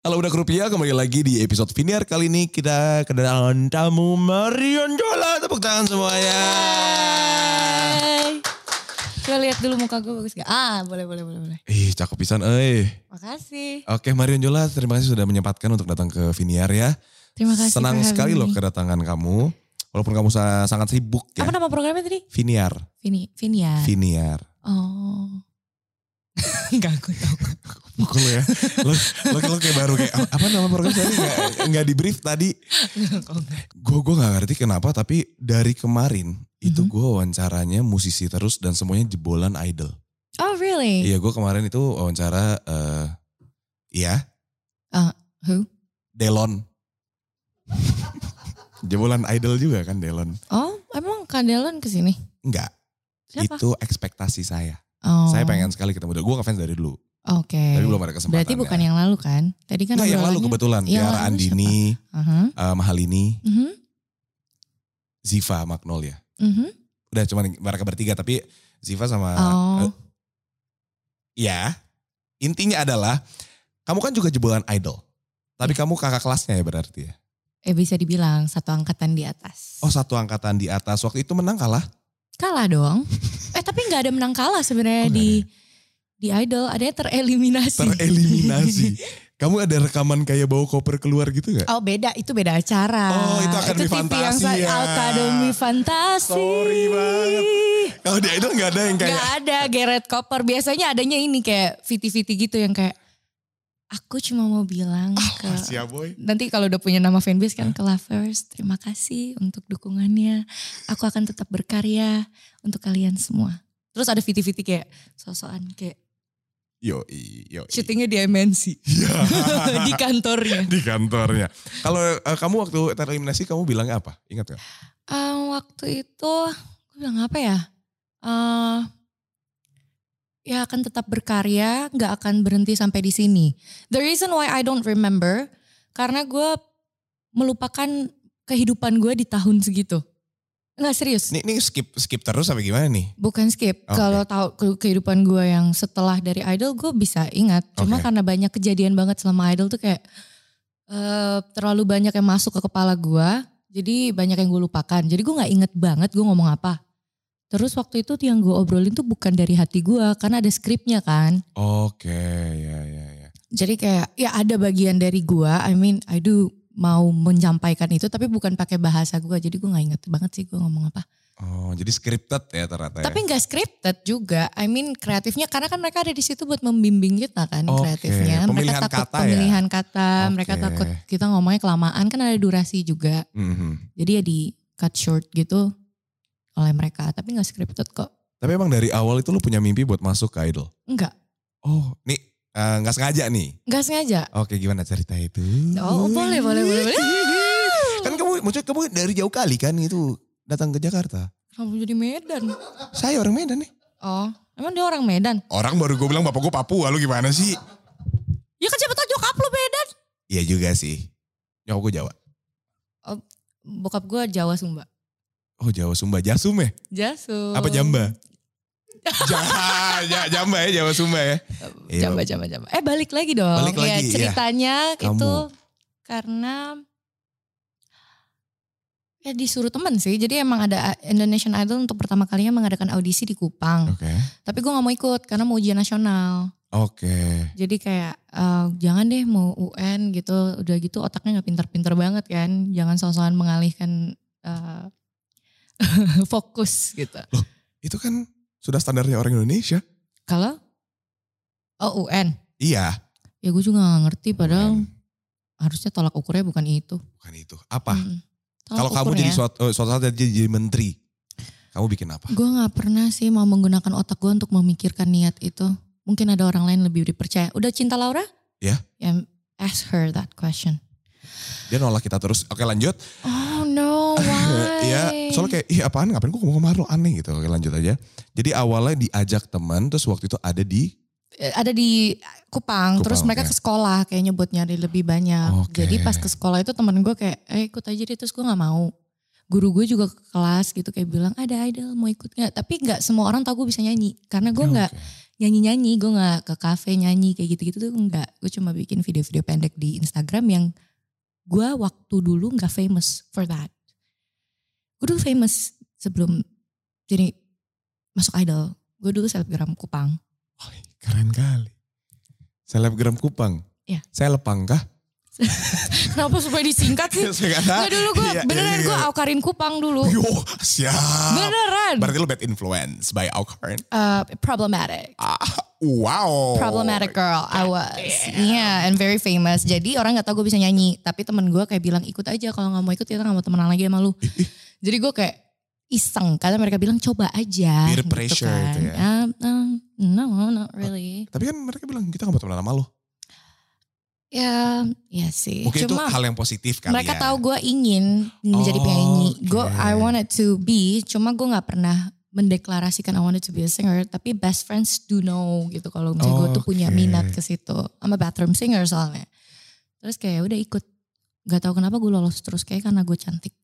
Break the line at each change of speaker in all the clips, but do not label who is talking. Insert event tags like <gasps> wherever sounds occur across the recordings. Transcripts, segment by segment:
Halo udah rupiah kembali lagi di episode Viniar kali ini kita kedatangan tamu Marion Jola tepuk tangan semuanya.
Hai. Coba lihat dulu muka gue bagus gak? Ah, boleh, boleh, boleh, boleh.
Ih cakep pisan eh.
Makasih.
Oke Marion Jola terima kasih sudah menyempatkan untuk datang ke Viniar ya.
Terima kasih.
Senang
for having
sekali
me.
loh kedatangan kamu walaupun kamu sa- sangat sibuk ya.
Apa nama Ah. programnya tadi?
Viniar,
Vini, ya? Vinia.
Viniar.
<laughs> oh. <laughs> Enggak, aku tahu.
Pukul ya. Lo, lo, lo kayak baru kayak apa nama program tadi nggak nggak di brief tadi. Gue gue nggak ngerti kenapa tapi dari kemarin itu
Mhm.
gue wawancaranya musisi terus dan semuanya jebolan idol.
Oh, really?
Iya gue kemarin itu wawancara eh ya
Who?
Delon. <laughs> jebolan idol juga kan Delon.
Oh, emang Kandelon kesini?
Enggak.
Siapa?
Itu ekspektasi saya.
Oh.
Saya pengen sekali ketemu Delon. Gue ngefans dari dulu.
Oke.
Tapi belum ada kesempatan.
Berarti bukan yang lalu kan? Tadi kan
Enggak, yang lalu
obrolannya- Uh-huh.
kebetulan.
Yang
Tiara
lalu
Andini,
Aha.
eh, Mahalini,
Mhm.
Ziva Magnolia.
Mhm.
Udah cuman mereka bertiga tapi Ziva sama
Oh.
eh, ya intinya adalah kamu kan juga jebolan idol. Tapi kamu kakak kelasnya ya berarti ya.
Eh bisa dibilang satu angkatan di atas.
Oh satu angkatan di atas waktu itu menang kalah.
Kalah dong. eh tapi nggak ada menang kalah
Oh,
sebenarnya
nggak
di di idol. Adanya tereliminasi.
Tereliminasi. kamu ada rekaman kayak bawa koper keluar gitu gak?
<laughs> oh beda, itu beda acara.
Oh, itu Akademi
TV yang
Fantasi
sa-
ya.
Akademi Fantasi.
Sorry banget. Kalau di idol gak ada yang kayak.
Gak ada Gareth Cooper. Biasanya adanya ini kayak fiti-fiti gitu yang kayak. Aku cuma mau bilang ke...
Masih ya boy.
Nanti kalau udah punya nama fanbase kan ke lovers. Terima kasih untuk dukungannya. Aku akan tetap berkarya untuk kalian semua. Terus ada fiti-fiti kayak sosokan kayak
Yo, yo.
syutingnya di MNC. <laughs> di kantornya.
di kantornya. Kalau eh, kamu waktu tereliminasi kamu bilangnya apa? Ingat gak?
Eh, waktu itu gue bilang apa ya? Eh, ya akan tetap berkarya, nggak akan berhenti sampai di sini. The reason why I don't remember karena gue melupakan kehidupan gue di tahun segitu. Nggak serius.
Ini, ini skip skip terus sampai gimana nih?
Bukan skip.
Oke.
Kalau tahu ke- kehidupan gue yang setelah dari idol gue bisa ingat. Cuma
Oke.
karena banyak kejadian banget selama idol tuh kayak eh, terlalu banyak yang masuk ke kepala gue. Jadi banyak yang gue lupakan. Jadi gue nggak inget banget gue ngomong apa. Terus waktu itu yang gue obrolin tuh bukan dari hati gue karena ada skripnya kan.
Oke, ya ya ya.
Jadi kayak ya ada bagian dari gue. I mean I do mau menyampaikan itu tapi bukan pakai bahasa gue. Jadi gue nggak inget banget sih gue ngomong apa.
Oh, jadi scripted ya ternyata ya.
Tapi nggak scripted juga. I mean kreatifnya karena kan mereka ada di situ buat membimbing kita kan
Oke,
kreatifnya. Mereka
pemilihan
takut
kata ya?
pemilihan kata,
Oke.
mereka takut kita ngomongnya kelamaan kan ada durasi juga.
Mhm.
Jadi ya di cut short gitu oleh mereka. Tapi nggak scripted kok.
Tapi emang dari awal itu lu punya mimpi buat masuk ke idol?
Enggak,
Oh, nih eh, nggak sengaja nih.
nggak sengaja.
Oke, gimana cerita itu?
Oh boleh boleh boleh boleh.
Kan kamu, maksudnya kamu dari jauh kali kan itu datang ke Jakarta.
Kamu jadi Medan.
Saya orang Medan nih.
Oh emang dia orang Medan.
Orang baru gue bilang bapak gue Papua, lu gimana sih?
Ya kan siapa tau nyokap lu Medan.
Iya juga sih. Nyokap gue Jawa.
Bokap gue Jawa Sumba.
Oh Jawa Sumba, Jasum ya?
Jasum.
Apa Jamba? Jawa, ja, Jamba ya, Jawa Sumba ya. Iya,
Jamba, jamba, jamba. Eh balik lagi dong.
Balik
Ya,
lagi, iya.
ceritanya
Kamu.
itu karena ya disuruh temen sih. Jadi emang ada Indonesian Idol untuk pertama kalinya mengadakan audisi di Kupang.
Oke.
Tapi gue gak mau ikut karena mau ujian nasional.
Oke.
Jadi kayak eh, jangan deh mau UN gitu. Udah gitu otaknya gak pinter-pinter banget kan. Jangan sosokan mengalihkan eh, <laughs> fokus gitu.
Itu kan sudah standarnya orang Indonesia.
Kalau oh UN.
Iya.
Ya gue juga gak ngerti padahal
Bukan,
harusnya tolak ukurnya bukan itu.
bukan itu. Apa?
Mm. Tolak
Kalau kamu
ukurnya. ya.
jadi suatu, eh, suatu saat jadi, jadi menteri, kamu bikin apa?
Gue gak pernah sih mau menggunakan otak gue untuk memikirkan niat itu. Mungkin ada orang lain lebih dipercaya. Udah cinta Laura?
Ya.
Ya, ask her that
<laughs>
question.
Dia nolak kita terus. Oke lanjut.
Oh
<laughs>
no, why?
Iya, soalnya kayak ih apaan ngapain gue ngomong sama lu aneh gitu. Oke lanjut aja. Jadi awalnya diajak teman terus waktu itu ada di
Eh, Ada di Kupang,
Kupang,
terus mereka
oke.
ke sekolah kayak nyebut nyari lebih banyak.
Oke.
Jadi pas ke sekolah itu temen gue kayak, eh ikut aja deh, terus gue gak mau. guru gue juga ke kelas gitu kayak bilang ada idol mau ikut nggak tapi nggak semua orang tahu gue bisa nyanyi
Ya,
karena gue nggak nyanyi nyanyi gue nggak ke kafe nyanyi kayak gitu gitu tuh nggak gue cuma bikin video-video pendek di Instagram yang gue waktu dulu nggak famous for that gue dulu famous sebelum jadi masuk idol gue dulu selebgram Kupang
Wah, keren kali. Selebgram Kupang.
Iya.
Saya lepang
<laughs>
kah?
kenapa supaya disingkat sih
Saya nggak tahu.
Nggak dulu gue
Iya,
beneran
iya,
gue
iya. ah,
aukarin Kupang dulu
Yo, siap.
beneran
Berarti lu bad influence by Alcorn.
Uh, problematic
Ah, wow.
problematic girl I was. Yeah, and very famous. Jadi orang nggak tahu gue bisa nyanyi, tapi temen gue kayak bilang ikut aja kalau nggak mau ikut kita nggak mau temenan lagi sama lu. Jadi gue kayak iseng karena mereka bilang coba aja.
Peer pressure
kan.
itu ya.
Um, um, no, not really.
Tapi kan mereka bilang kita gak mau temenan sama lo.
Ya, ya sih.
Mungkin itu
Cuma
hal yang positif kali
mereka
ya.
tahu gue ingin menjadi
Oh,
penyanyi. Gue
oke.
I wanted to be, cuma gue nggak pernah mendeklarasikan I wanted to be a singer. Tapi best friends do know gitu kalau misalnya gue tuh
Oh,
punya
Oke.
minat ke situ. I'm a bathroom singer soalnya. Terus kayak udah ikut. Gak tahu kenapa gue lolos terus kayak karena gue cantik.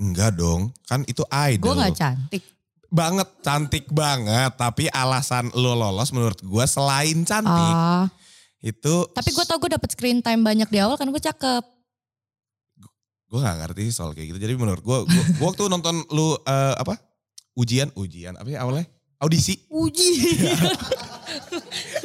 Enggak dong, kan itu
Gue
idol.
nggak cantik.
banget, cantik banget. Tapi alasan lo lolos menurut gue selain cantik
Ah,
itu
tapi gue tau gue dapet screen time banyak di awal kan gue cakep.
gue gak ngerti sih soal kayak gitu. Jadi menurut gue, gue gue waktu nonton lu eh, apa ujian ujian apa ya awalnya audisi <laughs>
Uji.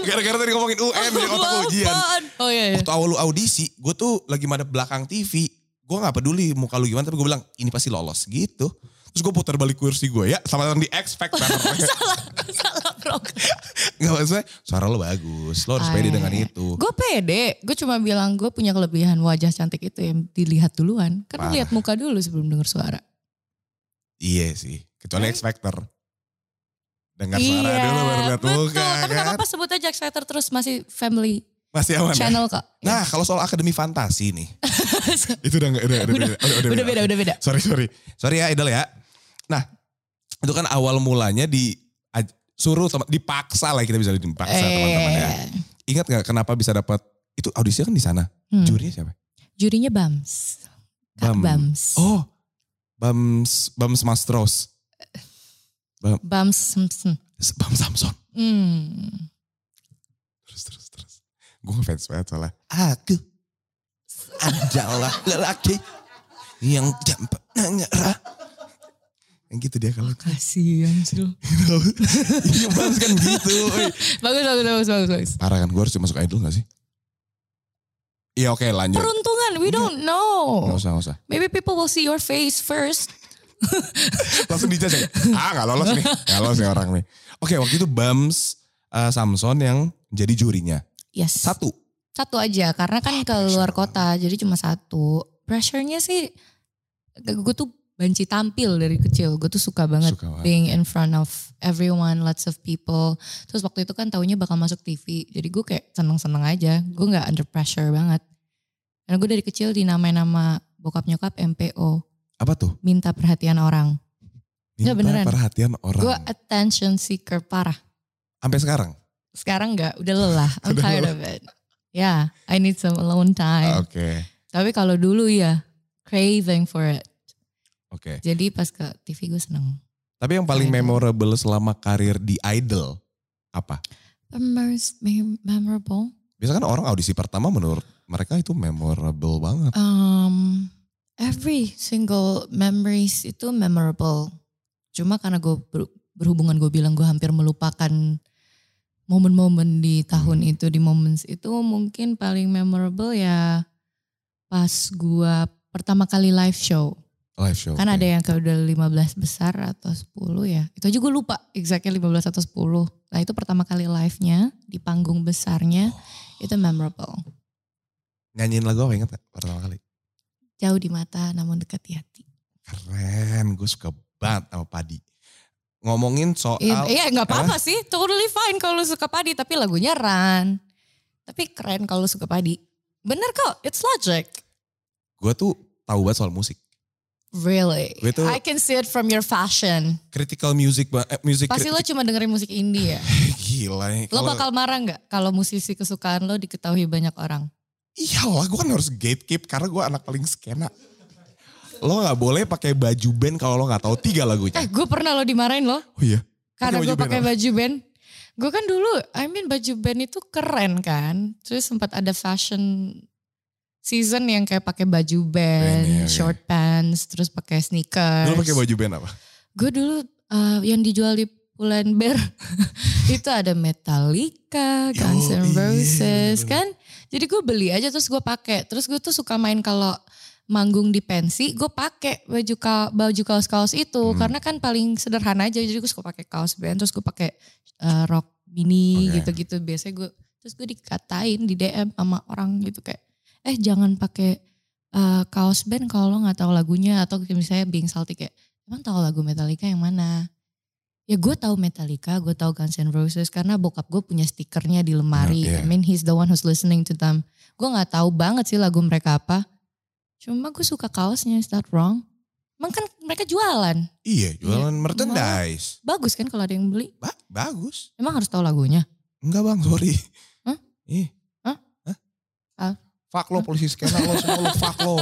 gara-gara tadi ngomongin UN jadi otak gua ujian.
Apaan? Oh iya iya.
Waktu awal lu audisi, gue tuh lagi madep belakang TV. Gue gak peduli muka lu gimana, tapi gue bilang ini pasti lolos gitu. Terus gue putar balik kursi gue ya, selamat datang di X
<laughs>
Factor.
salah salah program.
Gak maksudnya, suara lo bagus, lo harus
Ah,
pede
iya,
dengan itu.
Gue pede, gue cuma bilang gue punya kelebihan wajah cantik itu yang dilihat duluan. Kan
Parah.
lihat muka dulu sebelum denger suara.
Iya sih, kecuali X Factor. Dengar suara
iya,
dulu baru lihat
betul.
muka
Tapi nggak
kan.
apa-apa sebut aja X Factor terus masih family
Masih aman ya?
channel kok.
Nah kalau soal Akademi Fantasi
<laughs>
nih. itu udah gak, udah, udah,
Udah- Ya. udah beda, udah beda.
Sorry, sorry. Sorry ya Idol ya. Nah, itu kan awal mulanya di aj- suruh teman dipaksa lah kita bisa bilang dipaksa teman-teman ya.
Eh,
Ingat nggak kenapa bisa dapat itu audisinya kan di sana?
hmm.
Jurinya siapa?
Jurinya Bams. Kak
Bam.
Bams.
Oh, Bams Bams Mastros,
Bams. Simpson.
Bams Samson.
Hmm.
Terus terus terus. Gue ngefans banget soalnya. Aku adalah lelaki yang jam nyerah. Yang gitu dia kalau
Kasihan sih lu.
<laughs> Iya Bams kan gitu. woy.
<laughs> Bagus, bagus, bagus, bagus, bagus.
Parah kan gue harus masuk idol gak sih? Iya oke lanjut.
Peruntungan, we don't
Gak
know.
usah, gak usah.
Maybe people will see your face first.
Langsung dijudge ya. Ah gak lolos nih. Gak lolos nih orang nih. Oke waktu itu Bams eh, Samson yang jadi jurinya.
Yes.
Satu.
Satu aja, karena kan ke
Ah, pressure
luar kota, jadi cuma satu. Pressure-nya sih, gue tuh banci tampil dari kecil. Gue tuh suka banget
Suka banget.
being in front of everyone, lots of people. Terus waktu itu kan taunya bakal masuk TV, jadi gue kayak seneng-seneng aja. Gue gak under pressure banget. Karena gue dari kecil dinamain nama bokap nyokap MPO,
Apa tuh?
minta perhatian orang.
Minta
Nggak, beneran.
perhatian orang.
Gue attention seeker parah.
Sampai sekarang?
Sekarang gak, udah
<laughs>
lelah. I'm
Udah
tired of it. Yeah, I need some alone time.
Oke.
Tapi kalau dulu ya craving for it.
Oke.
Jadi pas ke TV gue seneng.
Tapi yang paling
Idol.
memorable selama karir di idol apa?
Most mem- memorable.
Biasanya kan orang audisi pertama menurut mereka itu memorable banget.
Um, every single memories itu memorable. Cuma karena gue ber- berhubungan gue bilang gue hampir melupakan momen-momen di tahun itu di moments itu mungkin paling memorable ya pas gue pertama kali live show.
Live show. Iya.
Kan ada yang kayak udah 15 besar atau 10 ya. Itu aja gue lupa exactly 15 atau 10. Nah itu pertama kali live-nya di panggung besarnya itu memorable.
Nyanyiin lagu apa inget gak pertama kali?
Jauh di mata namun dekat di hati.
Keren, gue suka banget sama Padi. Ngomongin soal,
Iya iya, nggak apa-apa sih. Totally fine kalau lu suka padi tapi lagunya Ran. Tapi keren kalau lu suka padi. Bener kok, it's logic.
gue tuh tahu banget soal musik.
Really.
Gue tuh-
I can see it from your fashion.
Critical music, ba- eh, music
Pasti lo
critic.
cuma dengerin musik India.
<laughs> Gila ya.
Lo bakal marah nggak kalau musisi kesukaan lo diketahui banyak orang?
Iyalah, gue kan harus gatekeep karena gue anak paling skena. Lo nggak boleh pakai baju band kalau lo nggak tahu tiga lagunya.
Eh gue pernah lo dimarahin loh.
Oh iya.
Karena
baju
gue
band
pakai
apa?
baju band. Gue kan dulu, I mean baju band itu keren kan. Terus sempat ada fashion season yang kayak pakai baju band,
Band, iya, iya.
short pants, terus pakai sneakers.
Lo pakai baju band apa?
Gue dulu eh, yang dijual di Pull&Bear <laughs> itu ada Metallica, Guns
Yo,
N'
iya, bener-bener.
Roses kan. Jadi gue beli aja terus gue pakai. Terus gue tuh suka main kalau manggung di pensi, gue pakai baju ka- baju kaos-kaos itu
Hmm.
karena kan paling sederhana aja. Jadi gue suka pakai kaos band, terus gue pakai eh, rok mini
Oke.
gitu-gitu. Biasanya gue terus gue dikatain di DM sama orang gitu kayak, eh jangan pakai eh, kaos band kalau lo nggak tahu lagunya atau kayak misalnya being salty kayak emang tahu lagu Metallica yang mana? Ya gue tahu Metallica, gue tahu Guns N' Roses karena bokap gue punya stikernya di lemari.
Nah, iya.
I mean he's the one who's listening to them. Gue nggak tahu banget sih lagu mereka apa. Cuma gue suka kaosnya, is that wrong? Emang kan mereka jualan.
Iya, jualan merchandise.
merchandise. Bagus kan kalau ada yang beli.
Ba- bagus.
Emang harus tahu lagunya.
Enggak bang, sorry.
Hah?
Ih.
Hah?
Hah?
Ah.
Fuck lo polisi skena lo semua lo fuck
<laughs>
lo.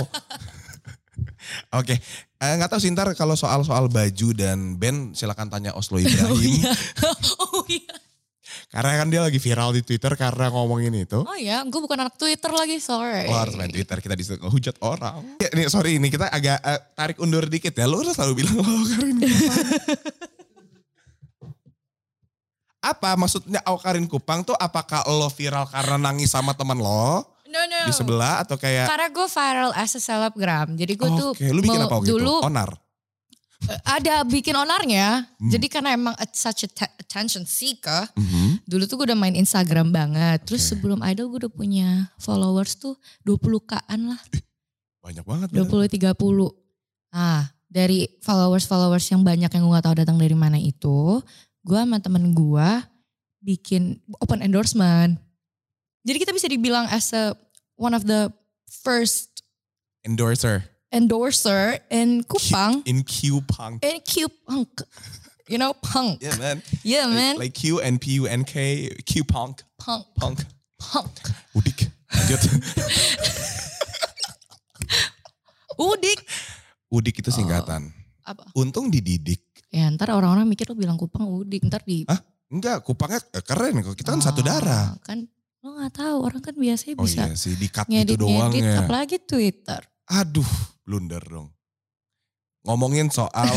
Oke, Eh, nggak tahu sih ntar kalau soal-soal baju dan band silakan tanya
<laughs>
Oslo
Oh
Ibrahim.
iya. Oh iya.
Karena kan dia lagi viral di Twitter karena ngomongin itu.
Oh iya, gue bukan anak Twitter lagi, sorry.
Lo harus main Twitter, kita disitu ngehujat orang. Ya, nih, sorry, ini kita agak eh, tarik undur dikit ya. Lo udah selalu bilang lo
<laughs>
Karin Kupang. apa maksudnya Au Karin Kupang tuh apakah lo viral karena nangis sama teman lo
No, no.
di sebelah atau kayak
Karena gue viral as a celebgram. Jadi gue tuh
Eh. Oke, lu bikin
mau-
apa gitu?
dulu
Onar.
ada bikin onarnya.
Hmm. mhm.
Jadi karena emang at- such a ta- attention seeker. Dulu tuh gue udah main Instagram banget. Terus
Oke.
sebelum idol gue udah punya followers tuh 20k-an lah.
Banyak banget. bener.
20-30. Ah, dari followers-followers yang banyak yang gue gak tahu datang dari mana itu. Gue sama temen gue bikin open endorsement. Jadi kita bisa dibilang as a one of the first
Endorser
endorser in Kupang.
in Q Punk.
In Q-Punk. You know, punk.
Yeah man.
Yeah, Oh, man.
Like, like Q and P U N K Q Punk.
punk.
Punk.
Punk.
Udik. Lanjut.
<laughs> Udik.
Udik itu singkatan.
Apa?
Untung dididik.
Ya ntar orang-orang mikir lu bilang Kupang Udik. Ntar di...
Enggak, kupangnya eh, keren kok. Ah, Kita kan satu
Ah,
darah.
Kan lo gak tahu. Orang kan biasanya
Oh
bisa
iya sih, di cut gitu doang
ngedit-ngedit.
ya.
apalagi Twitter.
Aduh, blunder dong. Ngomongin
<laughs>
soal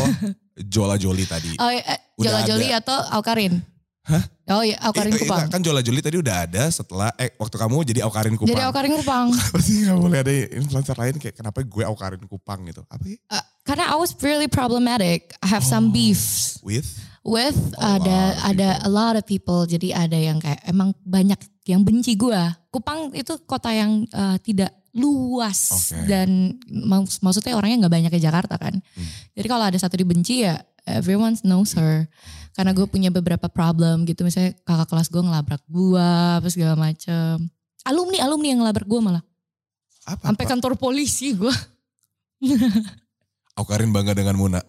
Jola Joli tadi.
Oh, iya, eh, Jola
Udah ada.
Joli atau Aukarin?
Hah?
Oh iya,
Eh,
Aukarin
eh,
Kupang.
Kan Jola Joli tadi udah ada setelah, eh waktu kamu jadi Aukarin Kupang.
Jadi Aukarin Kupang.
<laughs> Pasti gak boleh ada influencer lain kayak kenapa gue Aukarin Kupang gitu. Apa ya?
Eh, karena I was really problematic. I have
Oh.
some beefs
With?
with
A
ada
lot of
ada
people.
a lot of people. Jadi ada yang kayak emang banyak yang benci gua. Kupang itu kota yang eh, tidak luas
Oke.
dan maks- maksudnya orangnya nggak banyak kayak Jakarta kan.
Hmm.
Jadi kalau ada satu dibenci ya everyone knows her. Karena gue punya beberapa problem gitu. Misalnya kakak kelas gue ngelabrak gua, apa segala macem. Alumni alumni yang ngelabrak gua malah.
Apa?
Sampai
Pak?
kantor polisi gua.
Aukarin bangga dengan Muna.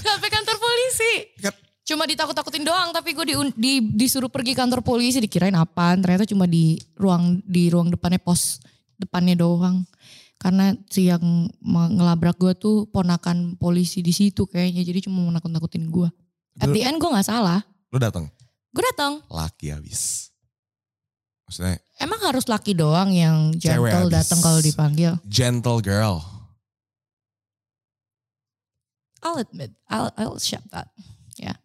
Sampai kantor polisi.
Kan-
Cuma ditakut-takutin doang, tapi gue di, di, disuruh pergi kantor polisi dikirain apaan. Ternyata cuma di ruang di ruang depannya pos depannya doang. Karena si yang ngelabrak gue tuh ponakan polisi di situ kayaknya. Jadi cuma mau nakut-nakutin gue. At the end gue nggak salah.
Lu datang
Gue datang.
laki habis. Maksudnya
Emang harus laki doang yang
Cewek
gentle
habis.
datang kalau dipanggil.
gentle girl.
I'll admit, I'll, I'll accept that. Ya.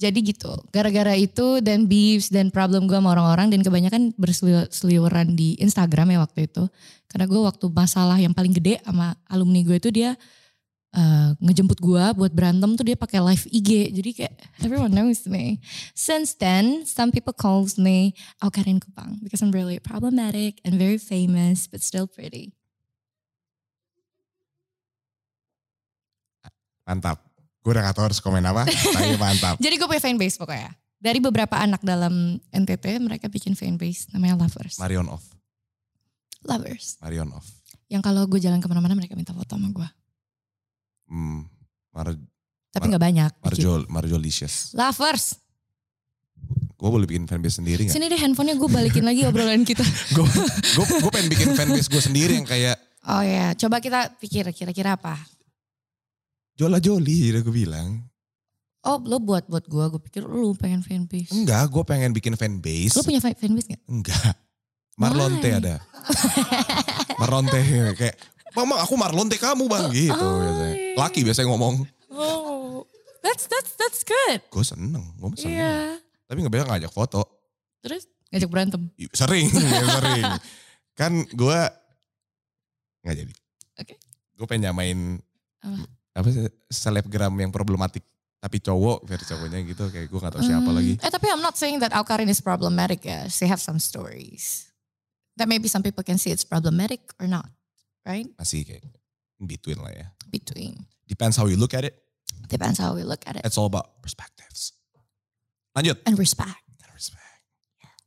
Jadi gitu, gara-gara itu dan beefs dan problem gue sama orang-orang dan kebanyakan berseliweran di Instagram ya waktu itu. Karena gue waktu masalah yang paling gede sama alumni gue itu dia eh, ngejemput gue buat berantem tuh dia pakai live IG. Jadi kayak everyone knows me. Since then, some people calls me Aukarin Kupang because I'm really problematic and very famous but still pretty.
Mantap. Gue udah gak tau harus komen
<laughs>
apa, tapi mantap.
Jadi gue punya fanbase pokoknya. Dari beberapa anak dalam NTT mereka bikin fanbase namanya Lovers.
Marion off.
Lovers.
Marion off.
Yang kalau gue jalan kemana-mana mereka minta foto sama gue.
Hmm. Mar
Tapi
Mar-
nggak banyak. dikit.
Marjol, Marjolicious.
Lovers.
Gue boleh bikin fanbase sendiri gak? <laughs>
Sini deh handphonenya gue balikin lagi obrolan kita.
Gue gue pengen bikin fanbase gue sendiri yang kayak
Oh ya, coba kita pikir kira-kira apa?
Jola Joli udah gue bilang.
Oh lo buat buat gue, gue pikir lu pengen fanbase.
Enggak, gue pengen bikin fanbase.
Lo punya fa- fanbase gak?
Enggak. Marlonte
Why?
ada. Marlonte kayak Mama aku Marlonte kamu bang gitu biasanya.
iya.
Laki biasanya ngomong.
Oh, that's that's that's good.
Gue seneng, gue
Iya.
seneng. Tapi nggak bisa ngajak foto.
Terus ngajak berantem.
Ih, Sering, <laughs> ya, sering. Kan gue nggak jadi.
Oke.
Gue pengen nyamain
Apa?
apa sih selebgram yang problematik tapi cowok versi cowoknya gitu kayak gue nggak tahu siapa
Hmm.
lagi.
Eh tapi I'm not saying that Awkarin is problematic ya. She have some stories. That maybe some people can see it's problematic or not. Right?
Masih kayak in between lah ya.
Between.
Depends how you look at it.
Depends how we look at it.
It's all about perspectives. Lanjut.
And respect.
Respect.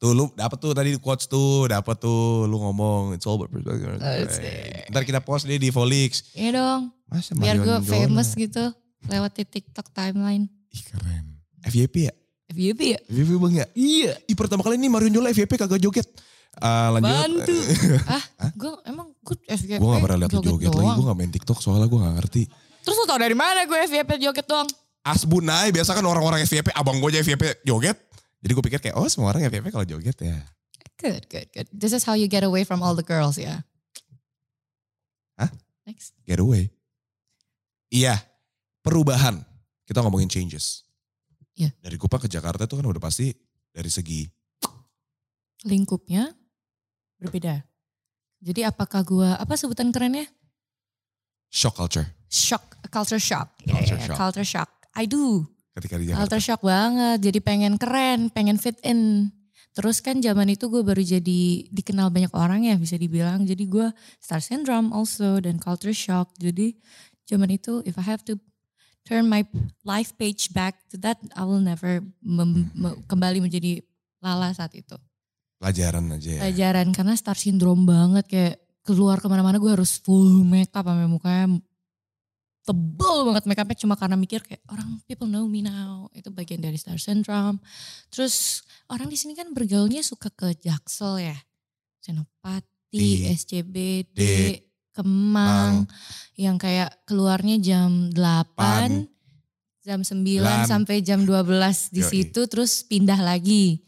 Tuh lu dapet tuh tadi quotes tuh, dapet tuh lu ngomong it's all about perspective.
Asik.
Ntar kita post deh di Volix.
Iya dong.
Masa
Biar
Marion
gue
Jola?
famous gitu. Lewat di TikTok timeline.
Ih keren. FYP ya?
FYB ya?
FYP bang ya?
Iya.
Ih pertama kali ini Marion Jola FYP kagak joget. Ah, lanjut.
Bantu. ah, gue emang gue FYP
gue gak pernah liat lu joget, lagi,
doang.
gue gak main TikTok soalnya gue gak ngerti.
Terus lo tau dari mana gue FYP joget doang?
Asbunai, biasa kan orang-orang FYP, abang gue aja FYP joget. Jadi gue pikir kayak, oh semua orang FYP kalau joget ya.
Good, good, good. This is how you get away from all the girls ya.
Hah?
Next.
Getaway. Iya, perubahan. Kita ngomongin changes.
Iya.
Dari Kupang ke Jakarta itu kan udah pasti dari segi
lingkupnya berbeda. Jadi apakah gua apa sebutan kerennya?
shock culture
Shock, culture shock.
Culture shock.
Culture shock. I do.
ketika di Jakarta.
Culture shock banget. Jadi pengen keren, pengen fit in. Terus kan zaman itu gue baru jadi dikenal banyak orang ya bisa dibilang. Jadi gua star syndrome also dan culture shock. Jadi zaman itu if I have to turn my life page back to that, I will never mem- me- kembali menjadi lala saat itu.
Pelajaran aja ya.
pelajaran karena star syndrome banget kayak keluar kemana-mana gue harus full makeup sampai mukanya tebel banget makeupnya cuma karena mikir kayak orang people know me now itu bagian dari star syndrome terus orang di sini kan bergaulnya suka ke jaksel ya senopati
Di-
SCBD
di-
Kemang yang kayak keluarnya jam 8
Pan.
jam 9
Lan.
sampai jam 12
Yoi.
di situ terus pindah lagi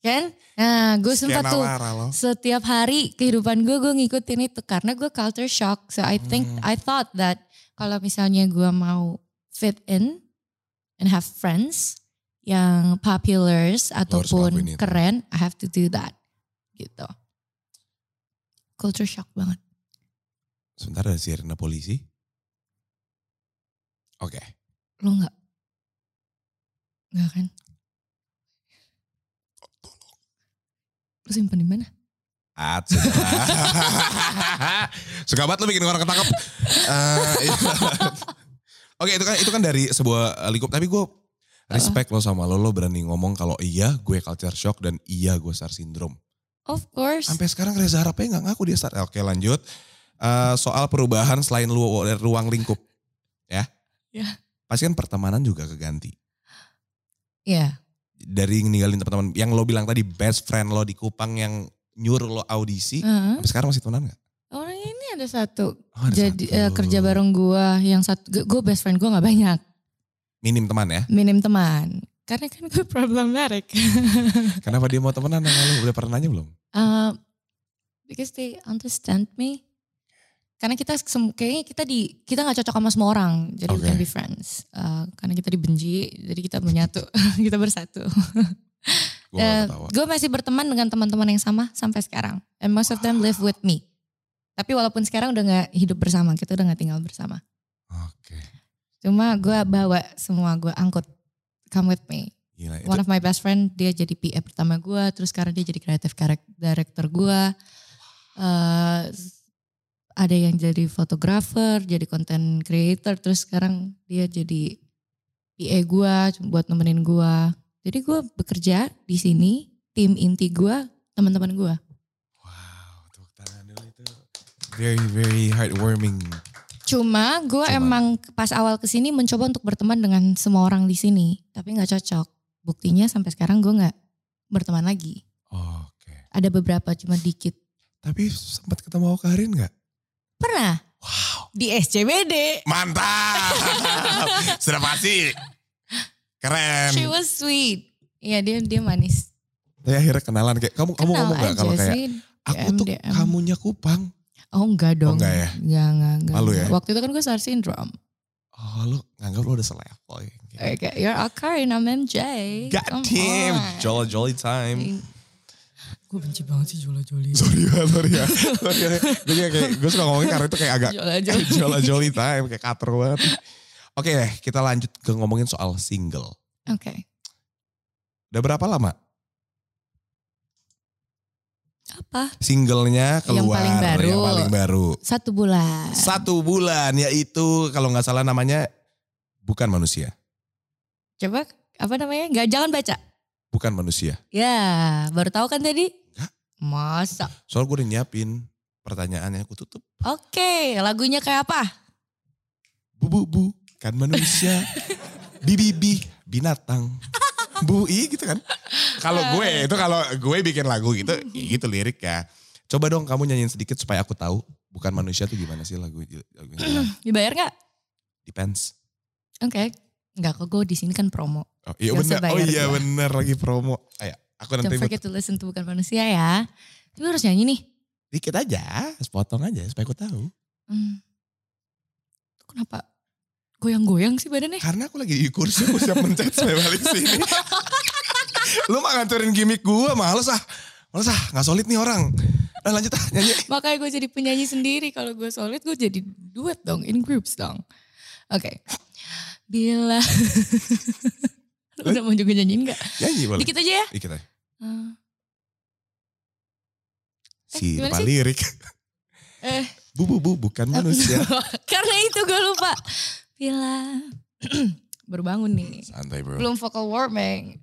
kan nah gue sempat
Skena
tuh
lara loh.
setiap hari kehidupan gue gue ngikutin itu karena gue culture shock so I think
Hmm.
I thought that kalau misalnya gue mau fit in and have friends yang populars
ngelakuin
ataupun
itu.
keren I have to do that gitu culture shock banget
Sebentar ada sirena polisi. Oke.
lo nggak nggak kan lo simpen di mana
At, sudah. <laughs> Suka banget lu bikin orang ketangkep. Eh, iya. Oke itu kan itu kan dari sebuah eh, lingkup. Tapi gue respect lo sama lo. Lo berani ngomong kalau iya gue culture shock dan iya gue star syndrome.
of course
Sampai sekarang Reza Harapnya nggak ngaku dia star. Oke lanjut. Eh, soal perubahan selain lu dari ruang lingkup. Ya.
Ya.
Pasti kan pertemanan juga keganti.
ya
Dari ninggalin teman-teman. Yang lo bilang tadi best friend lo di Kupang yang nyuruh lo audisi.
Heeh.
Sampai sekarang masih temenan gak?
orang ini ada satu
Oh, ada
jadi
satu.
eh, kerja bareng gua yang satu gue best friend gua nggak banyak
minim teman
<laughs>
ya.
minim teman karena kan <laughs> gue problematic
Kenapa dia mau temenan sama lu? Udah pernah nanya belum?
Uh, because they understand me karena kita sem- kayaknya kita di kita nggak cocok sama semua orang jadi we
Oke.
can be friends Uh, karena kita dibenci jadi kita menyatu <laughs> kita bersatu
Gue gak ketawa.
gue masih berteman dengan teman-teman yang sama sampai sekarang and most of them live with me tapi walaupun sekarang udah nggak hidup bersama kita udah nggak tinggal bersama
Oke.
Cuma gue bawa semua gue angkut come with me.
Gila itu.
One of my best friend dia jadi PA pertama gue, terus sekarang dia jadi creative direct- director gue. Eh, ada yang jadi fotografer, jadi content creator, terus sekarang dia jadi PA gue buat nemenin gue. Jadi gue bekerja di sini, tim inti gue, teman-teman gue.
Wow. Tepuk tangan dulu itu. Very, very heartwarming.
Cuma gue
Cuma.
emang pas awal kesini mencoba untuk berteman dengan semua orang di sini, tapi nggak cocok. Buktinya sampai sekarang gue nggak berteman lagi.
Oke.
Ada beberapa cuma dikit.
Tapi sempat ketemu Karin gak?
Pernah
Di SCBD.
<laughs>
Mantap. Sudah pasti. Keren.
She was sweet. Iya dia dia manis.
Ya akhirnya kenalan kayak kamu kamu
Kenal
ngomong gak
aja
kalau kayak
sih.
aku
DM,
tuh
DM.
kamunya Kupang.
Oh enggak dong.
enggak ya?
Enggak, enggak, enggak.
Malu ya?
Waktu itu kan gue star syndrome.
Oh lu nganggap lu udah selevel. ya?
Kayak, you're a Karin, I'm MJ.
God
Eh, Come
damn.
on.
Jolly jolly time.
Gue benci banget sih Jola Joli.
Sorry <laughs> ya, sorry ya. Sorry ya. Gue juga kayak, gue suka ngomongnya karena itu kayak agak
<laughs> Jola
<laughs>
Joli.
jolly jolly time. Kayak kater banget. Oke deh, kita lanjut ke ngomongin soal single.
Oke.
Udah berapa lama?
Apa?
Singlenya
Yang
keluar.
paling baru.
Yang paling baru.
Satu bulan.
Satu bulan, yaitu kalau nggak salah namanya bukan manusia.
Coba apa namanya? Enggak, jangan baca.
Bukan manusia.
Ya, baru tahu kan tadi? Masa?
Soalnya gue udah nyiapin pertanyaannya, aku tutup.
Oke, lagunya kayak apa?
Bu bu bu, kan manusia. bi bi bi, binatang. Bu i gitu kan. Kalau gue itu kalau gue bikin lagu gitu, ya gitu lirik ya. Coba dong kamu nyanyiin sedikit supaya aku tahu bukan manusia tuh gimana sih lagu lagunya.
Dibayar nggak?
Depends.
Oke. Enggak kok gue di sini kan promo.
Oh iya
Gak usah
bener, oh
bayar gitu.
iya
gua.
bener lagi promo. Ayo, aku nanti
Don't
ikut.
forget to listen to bukan manusia ya. Tapi harus nyanyi nih.
dikit aja, sepotong aja supaya aku tahu.
Hmm. Kenapa goyang-goyang sih badannya? <laughs>
Karena aku lagi di kursi, aku siap mencet saya balik sini. Lu mah ngancurin gimmick gue, males ah. Males ah, gak solid nih orang. Nah, lanjut ah, nyanyi.
Makanya gue jadi penyanyi sendiri. Kalau gue solid gue jadi duet dong. In groups dong. Oke. Bila. <laughs> Lu Udah mau juga nyanyiin gak?
Nyanyi boleh.
Dikit aja ya.
Dikit aja.
Hmm.
Si lupa
gimana sih?
lirik.
Eh.
<laughs> Bu, bu, bu, bukan manusia.
<laughs> Karena itu gue lupa. Bila. <clears throat> Baru bangun nih.
Santai bro.
Belum vocal warming.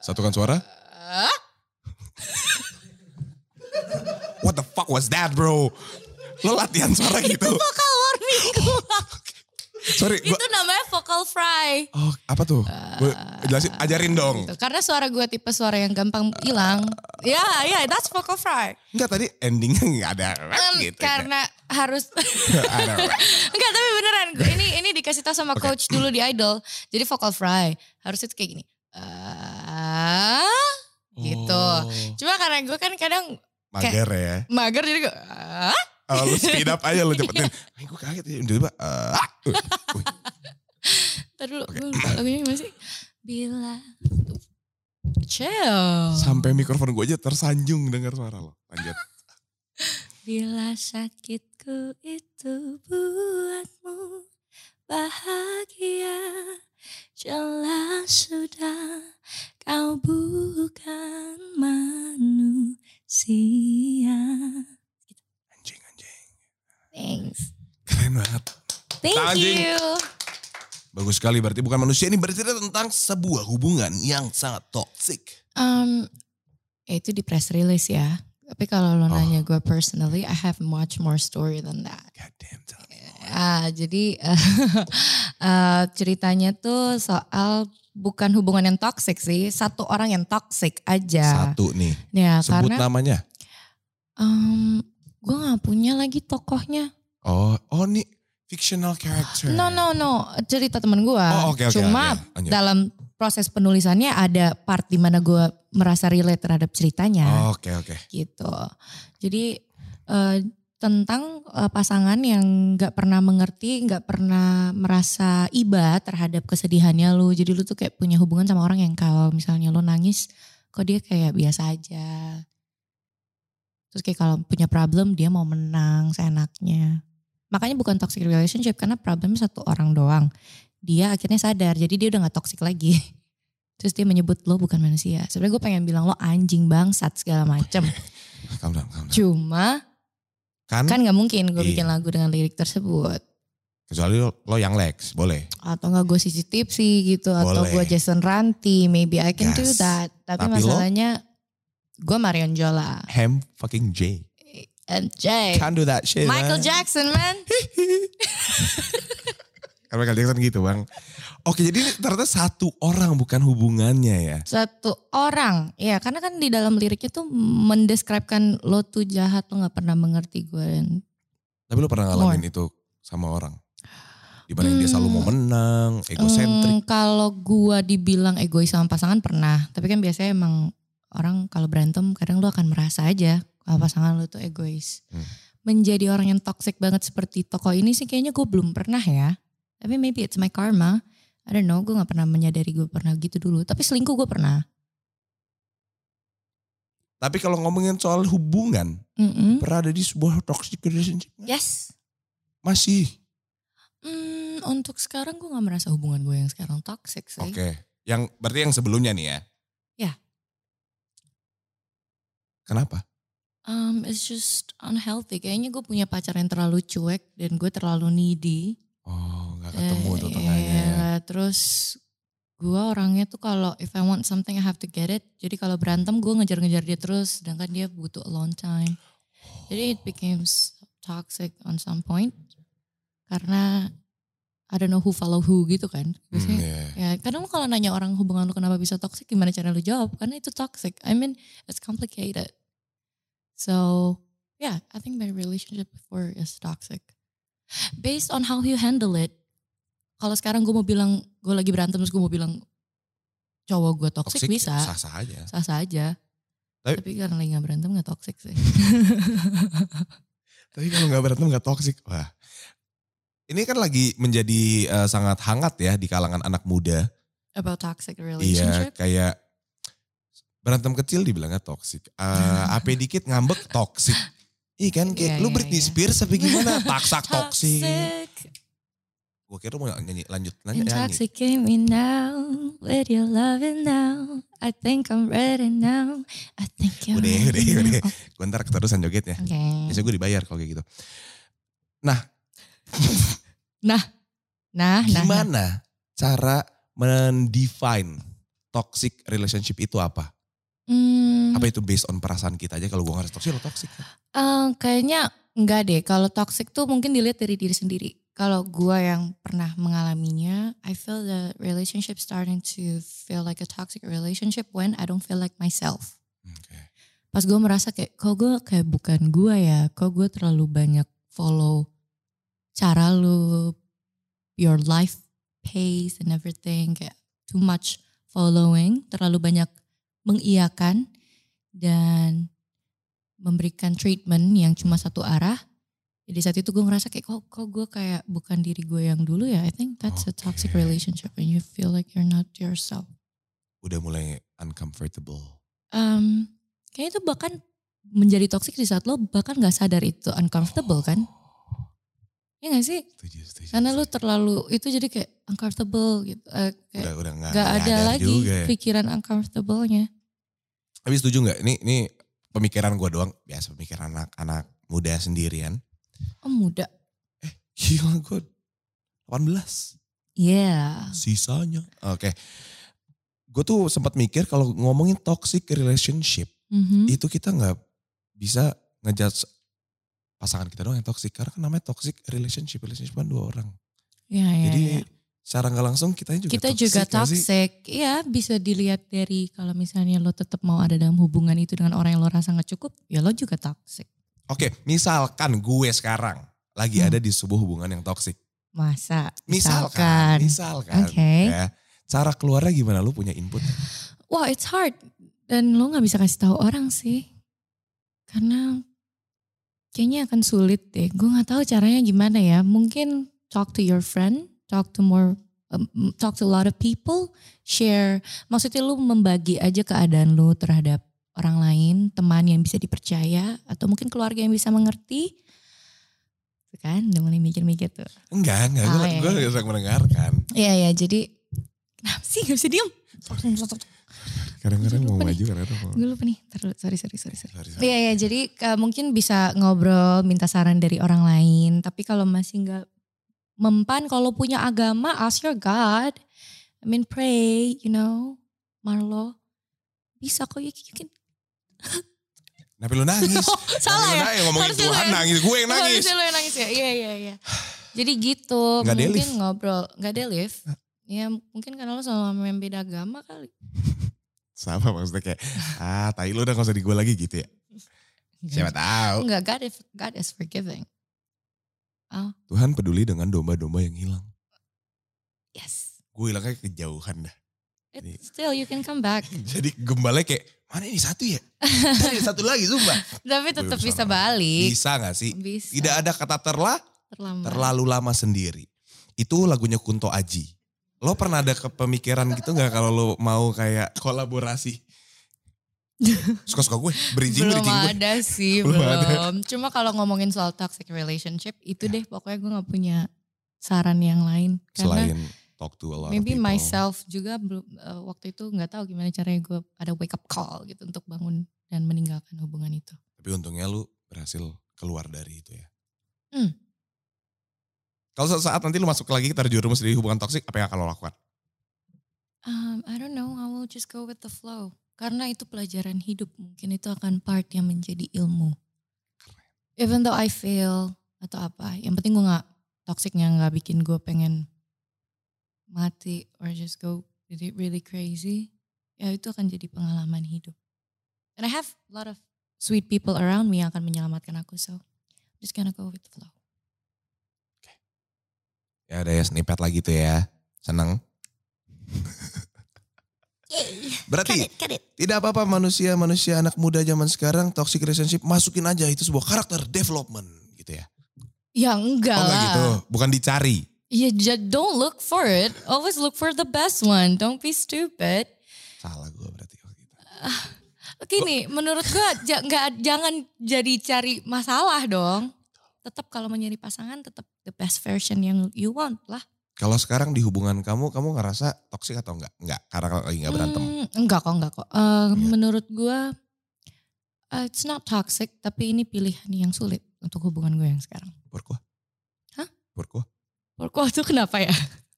Satukan suara.
Ah,
What the fuck was that bro? Lo latihan suara gitu.
vocal warming gua.
<laughs> Sorry, gua,
Itu namanya vocal fry.
oh, apa tuh? Gue jelasin, ajarin dong.
Gitu. Karena suara gue tipe suara yang gampang hilang. Ya, ya, that's vocal fry.
Enggak tadi endingnya nggak ada rap
Em,
gitu.
karena harus <laughs>
ada rap.
Enggak, tapi beneran. Gua- Ini ini dikasih tahu sama
Oke.
coach dulu di Idol. Jadi vocal fry harusnya tuh kayak gini. Ah, gitu.
Oh,
Cuma karena gue kan kadang
Mager ya.
mager jadi gue ah,
Oh, lu speed up aja
<laughs> Iya.
lu cepetin. Ay, gue kaget ya. Tiba-tiba. eh,
Oh.
ah, uh, uh.
Ntar dulu,
Oke.
gue lupa lagunya gimana sih? Bila. Chill.
Sampai mikrofon gue aja tersanjung dengar suara lo. Lanjut.
Bila sakitku itu buatmu bahagia Jelas sudah kau bukan manusia
Anjing, anjing.
Thanks.
Keren banget.
Thank
Anjing.
you.
Bagus sekali berarti bukan manusia ini bercerita tentang sebuah hubungan yang sangat toxic.
Um, ya itu di press release ya. Tapi kalau lo
Oh.
nanya gue personally, I have much more story than that.
God damn, tell me more.
Ah, jadi <laughs> eh, eh, ceritanya tuh soal bukan hubungan yang toksik sih, satu orang yang toksik aja.
Satu nih.
Ya,
Sebut
karena
namanya.
gue nggak punya lagi tokohnya.
Oh, oh nih fictional character.
No, no, no, cerita temen gue.
Hmm. Oh, oke, oke.
Cuma
oke. Lanjut.
dalam proses penulisannya ada part di mana gue merasa relate terhadap ceritanya
Oh, Oke, oke.
gitu. Jadi eh, tentang eh, pasangan yang nggak pernah mengerti, nggak pernah merasa iba terhadap kesedihannya lu. Jadi lu tuh kayak punya hubungan sama orang yang kalau misalnya lu nangis, kok dia kayak biasa aja. Terus kayak kalau punya problem dia mau menang seenaknya. Makanya bukan toxic relationship karena problemnya satu orang doang. Dia akhirnya sadar, jadi dia udah gak toxic lagi. <laughs> Terus dia menyebut lo bukan manusia. Sebenarnya gue pengen bilang lo anjing bangsat segala macem.
Calm down, calm down.
Cuma
Kan,
kan nggak mungkin gue
Iya.
bikin lagu dengan lirik tersebut.
kecuali lo, lo yang Lex, boleh.
Atau nggak gue Sissy Tipsy gitu. Atau
Boleh.
gue Jason Ranti. Maybe I can do
Gas.
that. Tapi,
Tapi lo-
masalahnya gue Marion Jola.
Ham fucking J.
MJ.
Can't do that shit.
Eh, Michael
man.
Jackson man.
Kan Michael Jackson gitu bang. Oke jadi ini ternyata satu orang bukan hubungannya ya.
Satu orang. Ya karena kan di dalam liriknya tuh mendeskripsikan lo tuh jahat. Lo gak pernah mengerti gue. Dan
Tapi lu pernah ngalamin itu sama orang? Dibanding dia selalu mau menang, egosentrik.
Hmm, kalau gua dibilang egois sama pasangan pernah, tapi kan biasanya emang orang kalau berantem kadang lu akan merasa aja kalau pasangan lu tuh egois.
Hmm.
Menjadi orang yang toxic banget seperti toko ini sih kayaknya gue belum pernah ya. Tapi maybe it's my karma. I don't know, gue gak pernah menyadari gue pernah gitu dulu. Tapi selingkuh gue pernah.
Tapi kalau ngomongin soal hubungan,
Mm-mm.
berada di sebuah toxic relationship
Yes.
masih.
Hmm, untuk sekarang gue gak merasa hubungan gue yang sekarang toxic sih.
Oke. Yang berarti yang sebelumnya nih ya.
Ya.
Kenapa?
Um, it's just unhealthy. Kayaknya gue punya pacar yang terlalu cuek dan gue terlalu needy.
Oh, nggak ketemu tuh
Eh,
tengahnya ya.
iya, Terus gue orangnya tuh kalau if I want something I have to get it. Jadi kalau berantem gue ngejar-ngejar dia terus, sedangkan dia butuh alone time. Jadi it became s- toxic on some point karena I don't know who follow who gitu kan.
Hmm,
Biasanya
iya.
Ya, kadang kalau nanya orang hubungan lu kenapa bisa toxic, gimana cara lu jawab? Karena itu toxic. I mean, it's complicated. So, yeah, I think my relationship before is toxic. Based on how you handle it, kalau sekarang gue mau bilang, gue lagi berantem terus gue mau bilang, cowok gue toxic,
Toxic,
bisa.
Sah-sah aja.
Sah-sah aja.
Tapi-
Tapi, karena lagi gak berantem gak toxic
<laughs>
sih.
Tapi kalau nggak berantem nggak toksik. Wah. Ini kan lagi menjadi eh, sangat hangat ya di kalangan anak muda.
About toxic
Iya,
relationship.
kayak berantem kecil dibilangnya toksik.
<laughs>
Eh, apa dikit ngambek toksik. Iya kan kayak
Iya,
lu
iya,
Britney
iya.
Spears apa gimana?
<laughs>
Taksak toksik. Gue kira lu mau nyanyi lanjut nanya nyanyi.
Intoxicate me now with your loving now. I think I'm ready now. I think you're
Udah,
ready
udah,
now.
udah. Gue ntar keterusan jogetnya.
Oke.
Biasanya gue dibayar kalau kayak gitu. Nah,
Nah, nah, nah.
gimana cara mendefine toxic relationship itu apa?
Hmm,
Apa itu based on perasaan kita aja kalau gue ngerasa toxic ya lo toxic. kan?
eh, kayaknya enggak deh. Kalau toxic tuh mungkin dilihat dari diri sendiri. Kalau gua yang pernah mengalaminya, I feel the relationship starting to feel like a toxic relationship when I don't feel like myself.
Oke.
pas gue merasa kayak kok gue kayak bukan gue ya kok gue terlalu banyak follow cara lu your life pace and everything kayak too much following terlalu banyak mengiakan dan memberikan treatment yang cuma satu arah jadi saat itu gue ngerasa kayak kok kok gue kayak bukan diri gue yang dulu ya I think that's a toxic
Oke.
relationship and you feel like you're not yourself
Udah mulai uncomfortable.
um, kayaknya itu bahkan menjadi toxic di saat lo bahkan nggak sadar itu uncomfortable kan? Ya gak sih?
Setuju, setuju.
Karena lo
setuju.
terlalu itu jadi kayak uncomfortable gitu. Eh, kayak
udah udah nggak
gak ada
nyadar
lagi
juga ya.
pikiran uncomfortable-nya.
Tapi setuju nggak? Ini ini pemikiran gue doang. Biasa pemikiran anak-anak muda sendirian. <laughs>
Oh muda.
Gila gue 18.
Yeah.
Sisanya. Oke. Gue tuh sempat mikir kalau ngomongin toxic relationship.
Mhm.
Itu kita nggak bisa ngejudge pasangan kita doang yang toxic. Karena kan namanya toxic relationship. Relationship kan dua orang.
Ya, ya,
Jadi
ya.
secara nggak langsung kita juga
kita
toxic.
juga
nggak sih?
toxic. Iya bisa dilihat dari kalau misalnya lo tetap mau ada dalam hubungan itu dengan orang yang lo rasa nggak cukup, ya lo juga toxic.
Oke misalkan gue sekarang lagi
Hmm.
ada di sebuah hubungan yang toxic.
Masa?
Misalkan,
Misalkan.
misalkan.
Oke.
Ya, cara keluarnya gimana? Lu punya input?
Wah, it's hard. Dan lo nggak bisa kasih tahu orang sih, karena kayaknya akan sulit deh. Gue nggak tahu caranya gimana ya. Mungkin talk to your friend, talk to more, um, talk to a lot of people, share. Maksudnya lu membagi aja keadaan lu terhadap orang lain, teman yang bisa dipercaya, atau mungkin keluarga yang bisa mengerti. Tuh Kan, udah mulai mikir-mikir tuh.
Enggak, enggak. Gue
Oh, iya,
gue
iya.
sedang mendengarkan.
Iya, ya jadi kenapa sih gak bisa diem?
Kadang-kadang mau
Lupa nih.
maju, kadang-kadang mau.
Gue lupa nih, Ntar dulu, sorry, sorry, sorry. sorry.
Sorry, sorry.
Iya ya, jadi uh, mungkin bisa ngobrol, minta saran dari orang lain. Tapi kalau masih nggak mempan, kalau punya agama, ask your God. I mean pray, you know, Marlo. Bisa kok, ya, you, you can.
Tapi lu
<laughs>
nangis. Tapi lu
Salah ya.
nangis, ngomongin
Harusnya
Tuhan
lu-
nangis. Gue yang nangis.
Harusnya lo yang nangis ya, iya iya iya. Jadi gitu,
Nggak
mungkin
delif.
ngobrol, nggak delif. Ya mungkin karena lo sama yang beda agama kali.
Sama maksudnya kayak, ah tai lu udah
Iya.
gak usah di gue lagi gitu ya. Siapa tahu.
Enggak, God is, God is forgiving. Oh.
Tuhan peduli dengan domba-domba yang hilang.
Yes.
Gue hilangnya kejauhan dah. Iya.
It's still you can come back. <laughs>
Jadi gembala kayak, mana ini satu ya? Tadi ada satu lagi, sumpah.
<laughs> Tapi tetap
Belum
bisa
sama.
balik.
Bisa gak sih?
Bisa.
Tidak ada kata terlah,
terlambat.
terlalu lama sendiri. Itu lagunya Kunto Aji. Lo pernah ada kepemikiran gitu gak kalau lo mau kayak kolaborasi? Suka-suka
<laughs>
gue, bridging,
belum
bridging gue.
ada sih,
Belum
belum.
ada. Ya.
Cuma kalau ngomongin soal toxic relationship itu deh pokoknya gue nggak punya saran yang lain karena
Selain talk to a lot of
maybe
people.
myself juga belum eh, waktu itu nggak tahu gimana caranya gue ada wake up call gitu untuk bangun dan meninggalkan hubungan itu.
Tapi untungnya lu berhasil keluar dari itu ya.
Hmm.
Kalau suatu saat nanti lu masuk lagi terjerumus di hubungan toksik, apa yang akan lo lakukan?
Um, I don't know, I will just go with the flow. Karena itu pelajaran hidup, mungkin itu akan part yang menjadi ilmu. Even though I fail atau apa, yang penting gue nggak toksiknya nggak bikin gue pengen mati or just go really, really crazy. Ya itu akan jadi pengalaman hidup. And I have a lot of sweet people around me yang akan menyelamatkan aku, so just gonna go with the flow.
Ya ada ya snippet lagi tuh ya. Seneng. Berarti tidak apa-apa manusia-manusia anak muda zaman sekarang toxic relationship masukin aja itu sebuah karakter development gitu ya.
Ya enggak
Oh enggak
lah.
gitu, bukan dicari.
Yeah, ju- don't look for it. Always look for the best one. Don't be stupid.
Salah gue berarti. kalau gitu.
Gini, menurut gua ja- nggak- jangan jadi cari masalah dong. Tetap kalau mencari pasangan tetap the best version yang you want lah.
Kalau sekarang di hubungan kamu, kamu ngerasa toksik atau enggak? Enggak, karena lagi enggak berantem.
Hmm, enggak kok, enggak kok. Eh, Menurut gua eh, it's not toxic, tapi ini pilihan yang sulit untuk hubungan gue yang sekarang.
Por qué?
Hah?
Por qué?
Porko itu kenapa ya?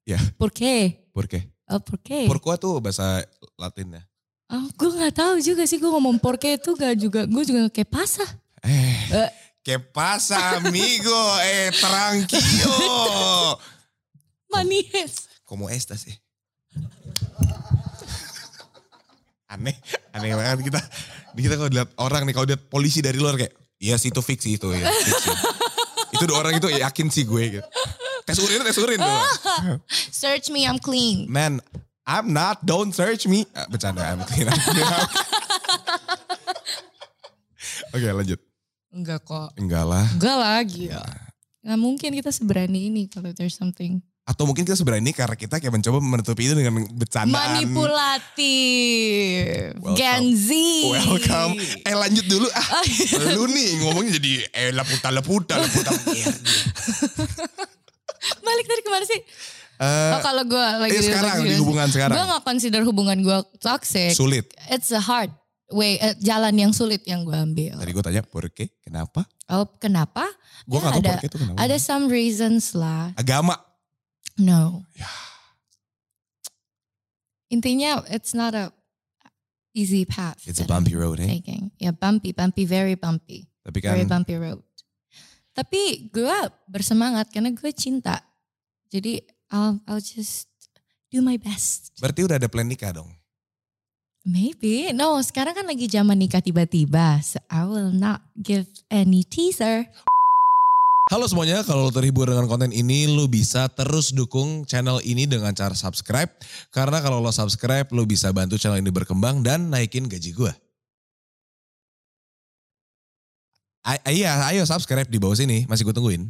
Ya.
Porke.
Por qué?
Oh, porke.
Por qué tuh bahasa Latinnya.
Oh, gue nggak tahu juga sih gue ngomong porke itu gak juga gue juga kayak pasah.
Eh,
Eh.
que pasa amigo? Eh, tranquilo.
Manis.
Como estas eh. Aneh, aneh banget kita. Ini Kita kalau lihat orang nih, kalau lihat polisi dari luar kayak, iya sih itu fiksi itu ya. fiksi." itu dua orang itu yakin sih gue gitu. Tes urin, tes urin tuh.
Search me, I'm clean.
Man, I'm not. Don't search me. Ah, bercanda, I'm clean. I'm clean. Oke lanjut.
Enggak kok.
Enggak lah.
Enggak lagi ya. Nggak mungkin kita seberani ini kalau there's something.
Atau mungkin kita seberani karena kita kayak mencoba menutupi itu dengan bercandaan.
Manipulatif.
Welcome.
Gen Z.
Welcome. Eh lanjut dulu ah. <laughs> Lu nih ngomongnya jadi eh laputa laputa laputa.
<laughs> <laughs> Iya. Balik dari kemana sih?
Eh,
Oh kalau gue lagi
eh, sekarang di hubungan sekarang.
Gue gak consider hubungan gue toxic.
sulit.
It's a hard way, eh, jalan yang sulit yang gue ambil.
Tadi gue tanya Borke kenapa?
Oh kenapa?
Gue
Ya,
nggak tahu
ada-
Borke itu kenapa.
Ada some reasons lah.
agama.
No.
Ya.
Intinya it's not a easy path.
It's a
that I'm
bumpy road, eh.
Taking. Ya bumpy, bumpy, very bumpy.
Tapi
Very
kan
bumpy road. Tapi gue bersemangat karena gue cinta. Jadi I'll, I'll just do my best.
berarti udah ada plan nikah dong.
Maybe. No, sekarang kan lagi zaman nikah tiba-tiba. So I will not give any teaser.
Halo semuanya, kalau lo terhibur dengan konten ini, lo bisa terus dukung channel ini dengan cara subscribe. Karena kalau lo subscribe, lo bisa bantu channel ini berkembang dan naikin gaji gue. A- iya, ayo subscribe di bawah sini, masih gue tungguin.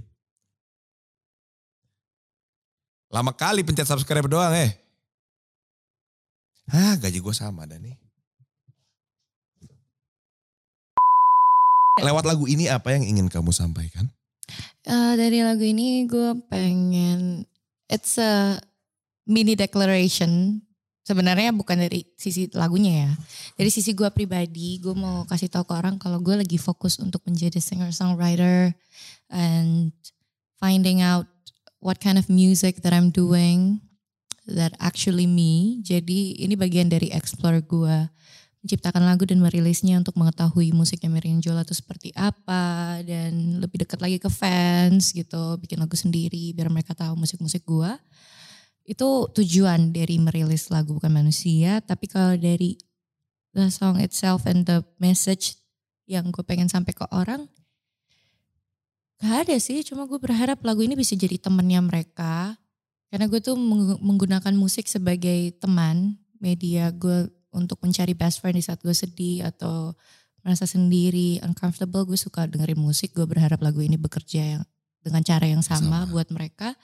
Lama kali pencet subscribe doang eh. Hah, gaji gue sama dah nih. Lewat lagu ini apa yang ingin kamu sampaikan?
Eh, dari lagu ini gue pengen it's a mini declaration sebenarnya bukan dari sisi lagunya ya dari sisi gue pribadi gue mau kasih tahu ke orang kalau gue lagi fokus untuk menjadi singer songwriter and finding out what kind of music that I'm doing that actually me jadi ini bagian dari explore gue menciptakan lagu dan merilisnya untuk mengetahui musiknya Miriam Jola itu seperti apa dan lebih dekat lagi ke fans gitu bikin lagu sendiri biar mereka tahu musik-musik gua itu tujuan dari merilis lagu bukan manusia tapi kalau dari the song itself and the message yang gue pengen sampai ke orang Gak ada sih, cuma gue berharap lagu ini bisa jadi temennya mereka. Karena gue tuh meng- menggunakan musik sebagai teman, media gue untuk mencari best friend di saat gue sedih atau merasa sendiri, uncomfortable. Gue suka dengerin musik, gue berharap lagu ini bekerja yang, dengan cara yang sama, buat mereka.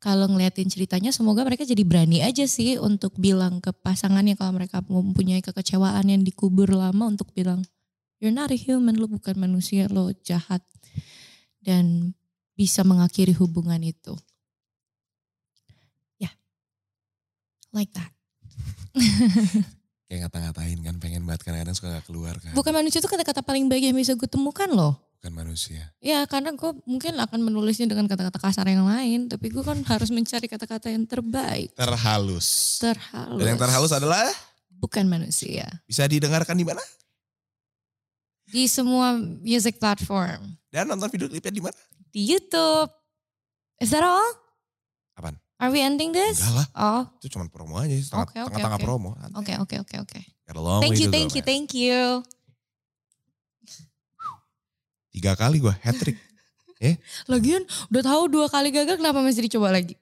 Kalau ngeliatin ceritanya semoga mereka jadi berani aja sih untuk bilang ke pasangannya kalau mereka mempunyai kekecewaan yang dikubur lama untuk bilang you're not a human, lo bukan manusia, lo jahat dan bisa mengakhiri hubungan itu. Ya, like that.
Kayak ngata-ngatain kan, pengen banget kadang-kadang suka gak keluar kan.
Bukan manusia itu kata-kata paling baik yang bisa gue temukan loh.
Bukan manusia.
Ya karena gue mungkin akan menulisnya dengan kata-kata kasar yang lain, tapi gue kan harus mencari kata-kata yang terbaik.
Terhalus.
Terhalus.
Dan yang terhalus adalah
Bukan manusia.
bisa didengarkan di mana?
Di semua music platform.
Dan nonton video klipnya di mana?
Di Youtube. Is that all?
Apaan?
Are we ending this?
Enggak lah.
Oh,
Itu cuma promo aja, setengah-
Oke, oke,
tengah-tengah
oke.
promo.
oke oke oke oke.
Got a long ya.
Thank
way
you,
to go,
thank you,
man.
thank you.
Tiga kali gue hat trick.
Lagian udah tahu dua kali gagal kenapa masih dicoba lagi?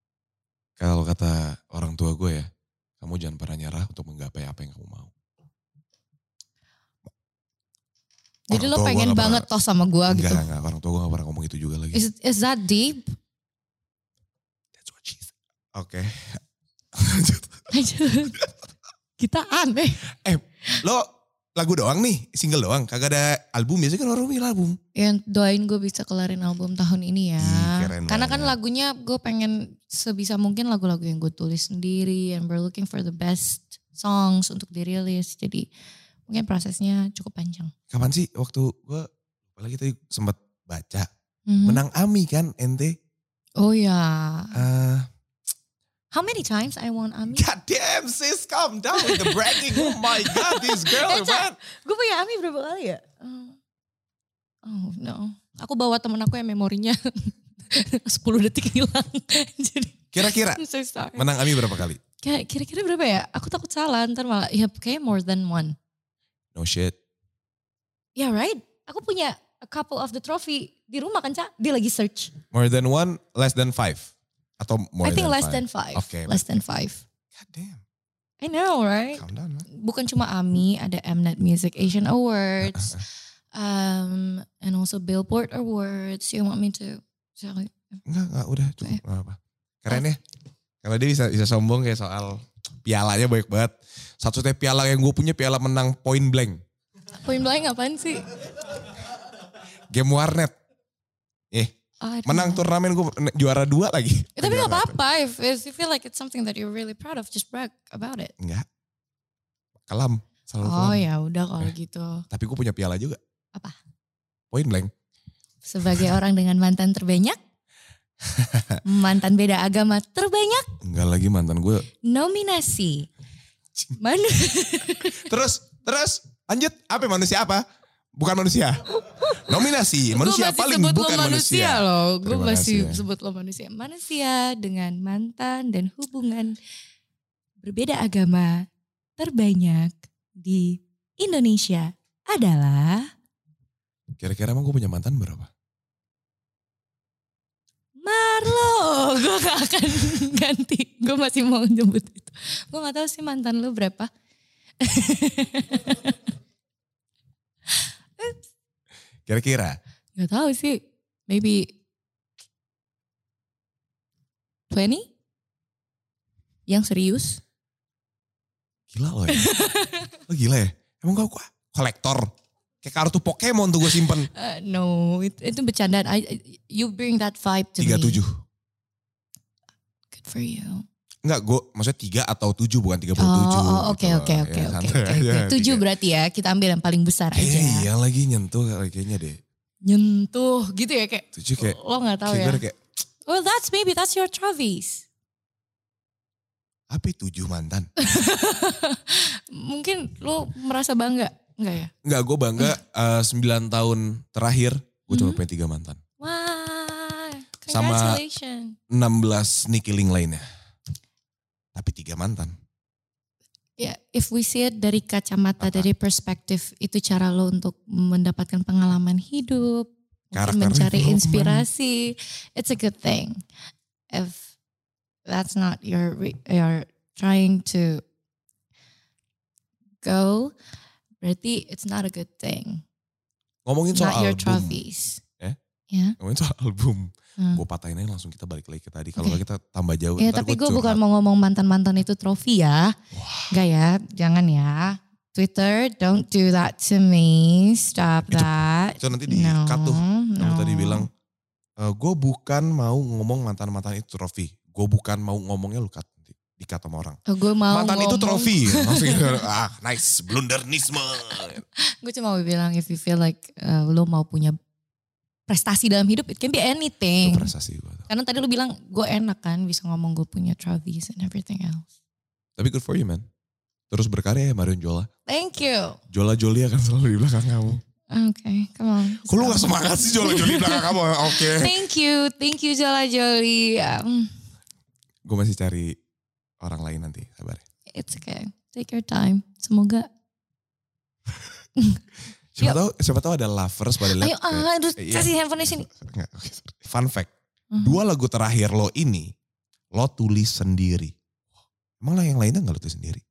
<laughs> Kalau kata orang tua gue ya, kamu jangan pernah nyerah untuk menggapai apa yang kamu mau.
Jadi
Orang
lo
tua gua
pengen
nggak
banget tos sama gue
Enggak,
gitu.
enggak, enggak. Orang tua gue gak pernah ngomong itu juga lagi.
Is, is that deep?
That's what she said. Oke. <laughs> Lanjut.
<laughs> Kita aneh.
Lo lagu doang nih, single doang. Kagak ada album, biasanya kan orang bilang album.
Ya doain gue bisa kelarin album tahun ini ya.
Ih, keren
Karena kan
banget.
lagunya gue pengen sebisa mungkin lagu-lagu yang gue tulis sendiri. And we're looking for the best songs untuk dirilis. Jadi mungkin prosesnya cukup panjang.
Kapan sih waktu gue, apalagi tadi sempat baca.
Mhm.
Menang AMI kan ente.
Oh ya.
Eh,
How many times I won
<laughs>
Ami?
God damn sis, calm down with the bragging. Oh my God, this girl, man.
Gue punya Ami berapa kali ya? Oh. Oh no. Aku bawa temen aku yang memorinya <laughs> 10 detik hilang. <laughs> Jadi
Kira-kira
I'm so sorry.
menang AMI berapa kali?
Kayak Kira-kira berapa ya? Aku takut salah ntar malah. Ya kayaknya more than one.
No shit.
Ya right? Aku punya a couple of the trophy di rumah kan Ca? Dia lagi search.
More than one, less than five. Atau more
I think
than
less
five.
than five.
Okay.
Less than five.
God damn,
I know right?
calm down man.
Bukan cuma AMI, ada Mnet Music Asian
<laughs> Eh,
Awards. um, and also Billboard Awards. You want me to? shall I-
Enggak, enggak udah
Eh.
cukup. Enggak apa. Keren ya. Kalau dia bisa bisa sombong kayak soal pialanya banyak banget. Satu-satunya piala yang gue punya piala menang point blank.
Point blank apaan sih?
Game warnet. Eh,
Oh, I don't
menang
know.
turnamen gue juara dua lagi.
Eh, Tapi
Juara
gak apa-apa. If, if you feel like it's something that you're really proud of, just brag about it.
Enggak. Kelam. Selalu
Oh
kelam.
ya udah kalau
Eh.
gitu.
Tapi gue punya piala juga.
Apa?
Point blank.
Sebagai orang dengan mantan
<laughs>
terbanyak, mantan beda agama terbanyak,
Enggak lagi mantan gue.
nominasi. C- Mana?
Terus, terus. Lanjut. Apa manusia apa? Bukan manusia. Nominasi. Manusia
Gua masih
paling
sebut lo
bukan manusia.
loh. Gue
Terima
masih
kasih ya.
sebut lo manusia. Manusia dengan mantan dan hubungan berbeda agama terbanyak di Indonesia adalah
Kira-kira emang gue punya mantan berapa?
Marlo. Gue gak akan <laughs> ganti. Gue masih mau nyebut itu. Gue gak tahu sih mantan lo berapa.
Kira-kira.
Gak tahu sih. Maybe 20? Yang serius?
Gila lo
<laughs>
ya. lo gila ya. Emang gue gua kolektor. Kayak kartu Pokemon tuh gue simpen.
Uh, no, it- itu bercandaan. I, I- you bring that vibe to me.
37.
Good for you.
Enggak gue maksudnya 3 atau 7 bukan 37.
Oh, oh, oke
gitu loh.
oke
Ya,
oke oke
santai
oke.
aja,
oke. Tujuh
tiga.
berarti ya kita ambil yang paling besar aja. ya.
Kayaknya iya lagi nyentuh kayak- kayaknya deh.
Nyentuh gitu ya kayak.
7 kayak.
lo nggak tahu
kayak
ya.
gue kayak.
Well that's maybe that's your trophies.
Apa 7 mantan?
Mungkin lo merasa bangga enggak ya?
Enggak gue bangga eh, 9 tahun terakhir. Gue cuma
Mhm.
punya 3 mantan.
Wah,
Sama-
congratulations.
16 nikiling lainnya. Tapi 3 mantan.
Ya, if we see it dari kacamata,
Apa?
dari perspektif, itu cara lo untuk mendapatkan pengalaman hidup, mungkin
Karakter
mencari
development.
inspirasi. It's a good thing if that's not your re- your trying to go. Berarti it's not a good thing.
Ngomongin
It's
soal
not your
album.
trophies.
Eh?
Ya.
Ngomongin soal album.
Hmm.
Gue patahin aja langsung kita balik lagi ke tadi. Kalau
Oke.
nggak kita tambah jauh.
Ya,
ntar
tapi
gua
gue bukan
curhat.
mau ngomong mantan-mantan itu trofi ya. Enggak ya, jangan ya. Twitter, don't do that to me. Stop
Itu-
that.
Itu nanti di
No,
cut tuh. Kamu
no.
tadi bilang, gue bukan mau ngomong mantan-mantan itu trofi. Gue bukan mau ngomongnya lu cut. Di, di cut sama orang.
Oh, gue mau
mantan itu
ngomong-
trofi. <laughs> Langsung gitu. ah nice, blundernisme.
Gue cuma mau bilang if you feel like uh, lo mau punya prestasi dalam hidup, it can be
Itu
anything.
prestasi gue.
Karena tadi lu bilang gue enak kan bisa ngomong gue punya trophies and everything else.
Tapi good for you man. Terus berkarya ya Marion Jola.
Thank you.
Jola Joli akan selalu di belakang kamu.
Okay, come on.
Kok lu gak semangat sih Jola Joli di belakang <laughs> kamu? Oke.
<laughs> Thank you, thank you Jola Jolie. Um,
Gue masih cari orang lain nanti. Sabar.
it's okay. Take your time. Semoga
Siapa
Yuk.
tahu siapa tahu ada lovers pada lihat.
Ayo, ah, aduh,
Iya.
kasih handphone sini.
Nggak, oke, sorry. Fun fact,
Mhm.
dua lagu terakhir lo ini lo tulis sendiri. Emang lah yang lainnya nggak lo tulis sendiri?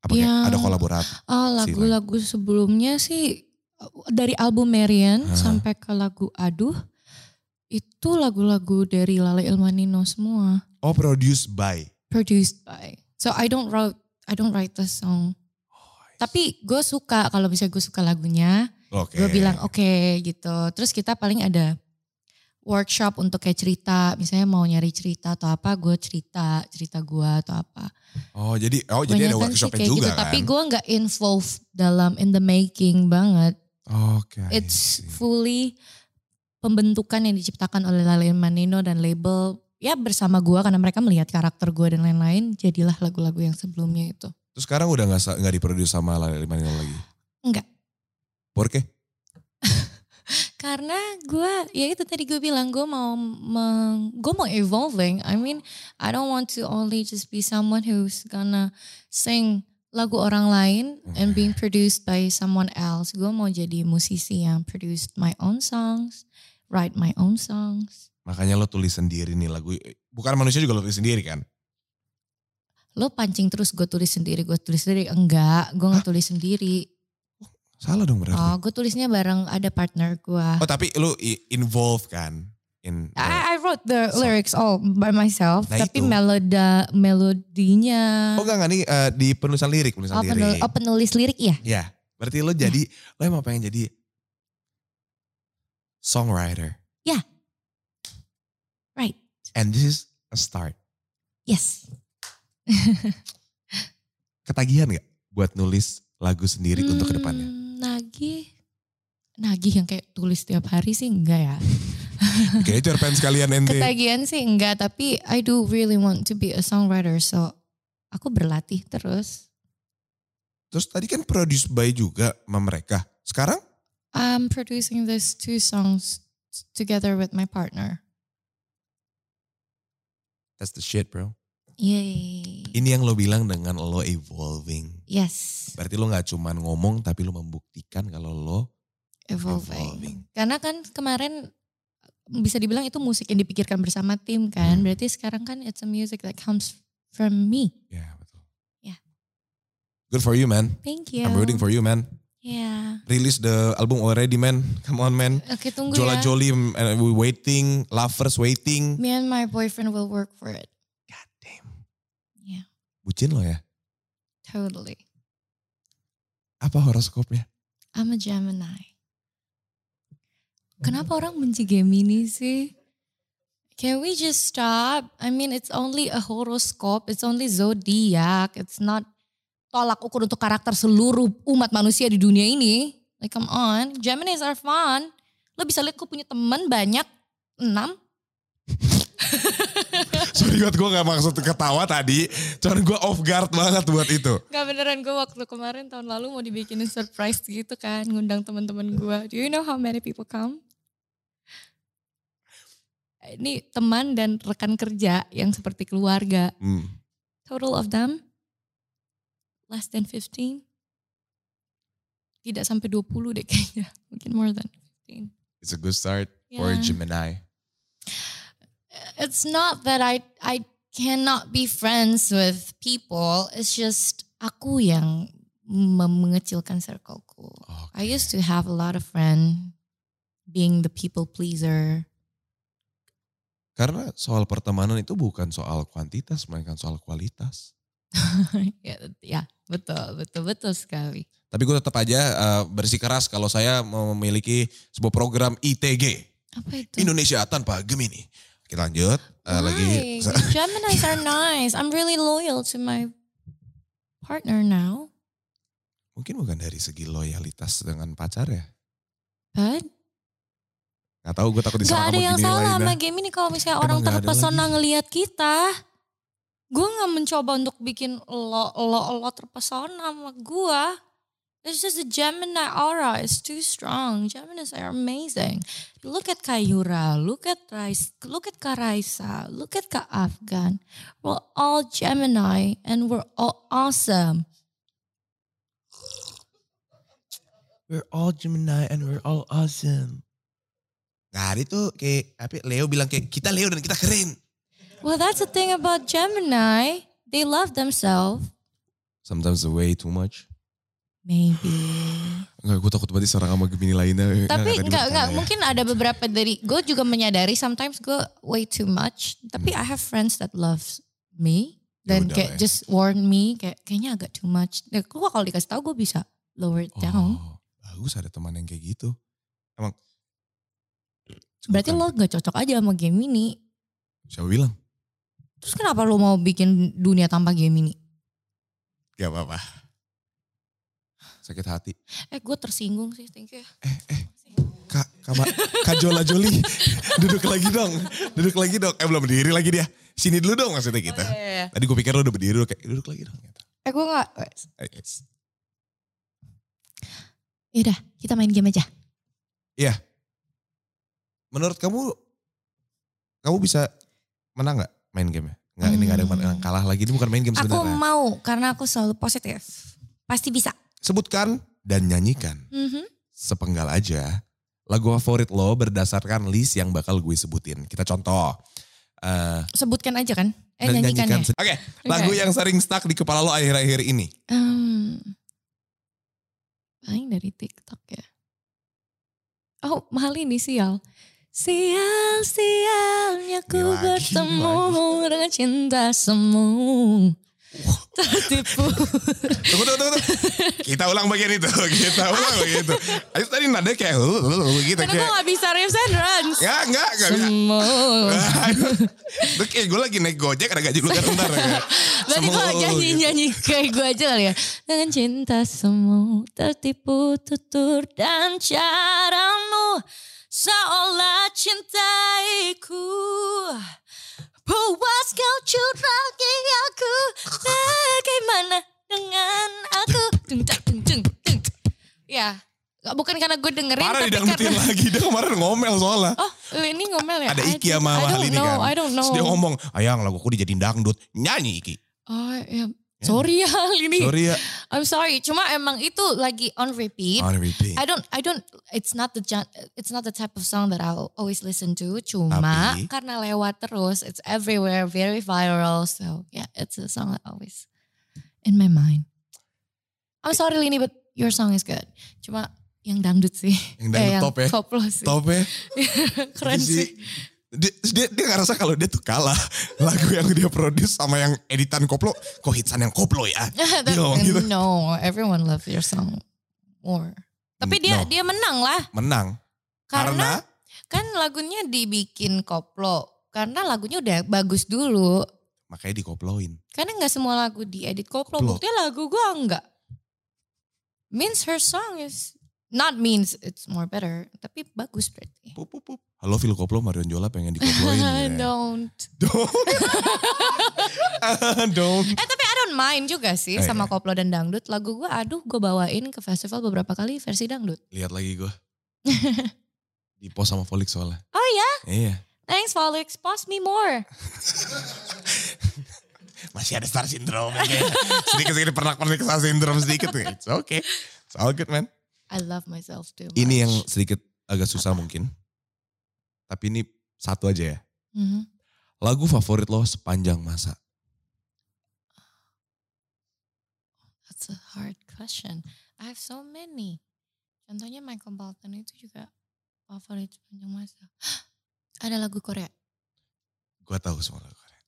Apa kayak
Ya.
ada kolaborasi?
Oh,
Silakan.
lagu-lagu sebelumnya sih uh, dari album Marian
Ah.
sampai ke lagu Aduh itu lagu-lagu dari Lale Ilmanino semua
Oh, produced by.
produced by. So I don't wrote I don't write the song. Tapi gue suka kalau bisa gue suka lagunya,
Oke.
gue bilang oke gitu. Terus kita paling ada workshop untuk kayak cerita, misalnya mau nyari cerita atau apa, gue cerita cerita gue atau apa.
Oh, jadi oh jadi ada
Kebanyakan sih
workshopnya
kayak
juga
gitu,
kan?
Tapi gue nggak involved dalam in the making banget.
Oke. I
It's
see.
fully pembentukan yang diciptakan oleh Lalin Manino dan label ya bersama gue karena mereka melihat karakter gue dan lain-lain jadilah lagu-lagu yang sebelumnya itu
Terus sekarang udah nggak sa- nggak diproduksi sama Lale Limanino lagi?
Nggak.
Porque?
karena gue ya itu tadi gue bilang gue mau meng, gue mau evolving I mean I don't want to only just be someone who's gonna sing lagu orang lain and being produced by someone else gue mau jadi musisi yang produced my own songs write my own songs
Makanya lo tulis sendiri nih lagu. Bukan manusia juga lo tulis sendiri kan?
lo pancing terus gue tulis sendiri gue tulis sendiri enggak gue nggak tulis sendiri
Salah dong berarti.
oh gue tulisnya bareng ada partner gue
Oh tapi lu i- involve kan in
I, I wrote the
So-
lyrics all by myself,
Nah,
tapi
itu.
melodi melodinya
Oh enggak enggak nih eh, di penulisan lirik, penulisan
Oh, penul-
lirik.
oh, penulis lirik ya?
Ya, berarti lu jadi lo emang pengen jadi songwriter.
Ya. Right.
And this is a start.
Yes.
Ketagihan gak buat nulis lagu sendiri untuk kedepannya?
Hmm, Nagih. Nagih yang kayak tulis tiap hari sih enggak
<laughs>
ya.
Kayaknya cerpen
<laughs>
sekalian ente.
Ketagihan sih enggak, tapi I do really want to be a songwriter, so aku berlatih terus.
Terus tadi kan produce by juga sama mereka. Sekarang
I'm producing these two songs together with my partner.
that's the shit bro.
Yay.
Ini yang lo bilang dengan lo evolving.
Yes.
Berarti lo nggak cuman ngomong tapi lo membuktikan kalau lo
evolving.
Evolving.
Karena kan kemarin bisa dibilang itu musik yang dipikirkan bersama tim kan.
Hmm.
Berarti sekarang kan it's a music that comes from me.
Ya betul.
Ya.
Good for you man.
Thank you.
I'm rooting for you man.
Yeah.
Release the album already man. Come on man.
Oke tunggu
Jola
ya.
Jolie and mm, eh, we waiting, lovers waiting.
Me and my boyfriend will work for it.
God damn.
Ya.
Bucin lo ya.
Totally.
Apa horoskopnya? <laughs>
I'm a Gemini. Kenapa orang benci Gemini sih? Can we just stop? I mean, it's only a horoscope, it's only zodiac, it's not tolak ukur untuk karakter seluruh umat manusia di dunia ini. Like come on, Geminis are fun. Lo bisa lihat gue punya temen banyak, enam.
Sorry buat gue gak maksud ketawa tadi. Cuman gue off guard banget buat itu.
Gak beneran gue waktu kemarin tahun lalu mau dibikinin surprise gitu kan, ngundang teman-teman gue. Do you know how many people come? Ini teman dan rekan kerja yang seperti keluarga.
Hmm.
Total of them less than <laughs> 15. Tidak sampai 20 deh kayaknya. Mungkin more than 15.
It's a good start for a
Yeah.
Gemini.
It's not that I I cannot be friends with people. It's just aku yang mem- mengecilkan circleku. I used to have a lot of friends being the people <laughs> pleaser.
Karena soal pertemanan itu bukan soal kuantitas, melainkan soal kualitas.
ya, ya, betul, betul, betul sekali.
Tapi gue tetap aja eh, bersikeras kalau saya mau memiliki sebuah program ITG.
Apa itu?
Indonesia tanpa Gemini. Kita lanjut. eh, lagi.
Why?
<laughs>
Gemini's are nice. I'm really loyal to my partner now,
Mungkin bukan dari segi loyalitas dengan pacar ya.
but
Gak tahu gue takut
Gak
disalah
ada
sama
yang
Gemini
salah
lainnya.
sama Gemini kalau misalnya
Emang
orang
nggak ada
terpesona
lagi?
ngelihat kita. Gue gak mencoba untuk bikin lo, lo, lo terpesona sama gue. It's just the Gemini aura. It's too strong. Geminis are amazing. Look at Kayura. Look at Rais. Look at Karaisa. Look at Kak Afgan. We're all Gemini and we're all awesome.
We're all Gemini and we're all awesome. Nah, itu kayak apa Leo bilang kayak kita Leo dan kita keren.
Well, that's the thing about Gemini. They love themselves.
Sometimes the way too much.
Maybe.
Enggak, gue takut banget diserang sama Gemini lainnya.
tapi
tadi
nggak nggak
bercanda ya.
mungkin ada beberapa dari gue juga menyadari sometimes gue way too much tapi I have friends that loves me
Ya
dan
udah Hmm. lah
kayak
ya.
just warn me kayak kayaknya agak too much ya, gue kalau dikasih tahu gue bisa lower it down
Oh, bagus ada teman yang kayak gitu. Emang.
berarti
Bukan.
lo gak cocok aja sama Gemini
Siapa bilang?
terus kenapa lo mau bikin dunia tanpa Gemini
Gak apa-apa. Sakit hati.
eh gue tersinggung sih thank you ya.
Eh, Kak, kama, Kak Jola Joli. <laughs> duduk lagi dong. Duduk lagi dong. Eh belum berdiri lagi dia. Sini dulu dong maksudnya gitu. kita.
Oh, iya,
Tadi gue pikir lo udah berdiri. lo Kayak, duduk lagi dong. Gitu.
eh gue nggak
Eh, yes.
yaudah kita main game aja
Menurut kamu, kamu bisa menang gak main game Nggak, ini gak ada yang
Hmm.
menang kalah lagi. Ini bukan main game
aku
sebenarnya.
mau karena aku selalu positif pasti bisa
Sebutkan dan nyanyikan.
Mhm.
sepenggal aja lagu favorit lo berdasarkan list yang bakal gue sebutin. Kita contoh. eh,
sebutkan aja kan eh
dan
nyanyikan ya
se- Oke, lagu
Oke.
yang sering stuck di kepala lo akhir-akhir ini.
Hmm. Paling dari TikTok ya. Oh, mahal ini sial. Sial, sialnya ku
Ini lagi, ini
bertemu dengan cinta semu. Tertipu.
Tunggu, tunggu, tunggu. tunggu.
<laughs>
Kita ulang bagian itu. <laughs> Kita ulang bagian itu. Ayo tadi nada kayak "Huh, huh, huh," gitu.
Karena gue
Kayak,
gak bisa riffs and runs.
ya enggak, enggak bisa.
Semu.
Itu kayak gue lagi naik gojek ada gaji lu kan bentar. kayak.
<laughs>
Semu,
Berarti gue
gitu.
nyanyi-nyanyi kayak gue aja kali ya. Dengan cinta semu tertipu tutur dan caramu seolah cintaiku. Puas kau curangi aku bagaimana dengan aku. Dung, dung, dung, dung, dung. Ya, nggak- bukan karena gue dengerin
Parah
tapi
didangdutin
karena...
lagi. Dia kemarin ngomel soalnya.
Oh ini ngomel ya?
ada
I
Iki
don't-
sama
I
Mahal
don't
ini
know,
kan.
I don't know.
Terus dia ngomong, ayang lagu aku dijadiin dangdut. Nyanyi Iki.
Oh ya, sorry ya Hal ini.
Sorry ya.
I'm sorry, cuma emang itu lagi on repeat.
On repeat.
I don't, I don't. It's not the gen- it's not the type of song that I'll always listen to. Cuma
Tapi-
karena lewat terus, it's everywhere, very viral. So yeah, it's a song that always in my mind. I'm sorry Lini, but your song is good. Cuma yang dangdut sih.
<laughs> Yang dangdut
Eh,
top ya.
koplo sih.
Top ya.
<laughs> Keren
Jadi
<laughs> sih.
Dia, dia, dia ngerasa kalau dia tuh kalah <laughs> lagu yang dia produce sama yang editan koplo. Kok hitsan yang koplo ya? Dia ngomong gitu.
no, everyone loves your song more. Tapi dia
No.
dia menang lah
Menang.
karena
Karena,
kan lagunya dibikin koplo karena lagunya udah bagus dulu
makanya dikoploin.
karena nggak semua lagu diedit koplo
Koplo.
buktinya lagu gua enggak means her song is not means it's more better tapi bagus berarti
Pup, pup, pup. Halo Phil Koplo, Marion Jola pengen
<laughs>
dikoploin. ya.
don't
<laughs> Don't. Don't.
eh tapi I don't mind juga sih
Eh,
sama
iya.
koplo dan dangdut lagu gua aduh gue bawain ke festival beberapa kali versi dangdut
Lihat lagi
<laughs>
gue. Di post sama Folix soalnya.
oh ya
Iya. <laughs>
thanks Felix post me more
Masih ada star syndrome. ya. Sedikit-sedikit pernah-pernah star syndrome sedikit. It's okay. It's all good man.
I love myself too much.
Ini yang sedikit eh, agak susah mungkin. Tapi ini satu aja ya.
Mhm.
Lagu favorit lo sepanjang masa.
That's a hard question. I have so many. Contohnya Michael Bolton itu juga favorit sepanjang masa. <gasps> Ada lagu Korea.
Gue tahu semua lagu. Korea.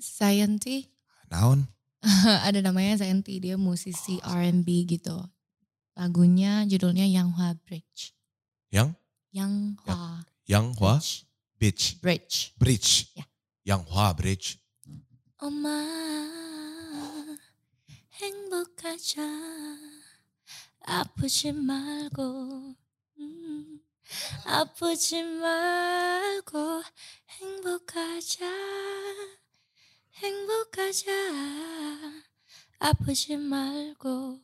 Scienti.
Naon?
<laughs> ada namanya Senti dia musisi R&B gitu lagunya judulnya Yanghua Bridge
Yang?
Yanghua
Yang Hua
Bridge.
Beach.
Bridge
Bridge.
Ya.
Yang Hua Bridge.
엄마 행복하자 아프지 말고 음, 아프지 말고 행복하자 행복하자 아프지 말고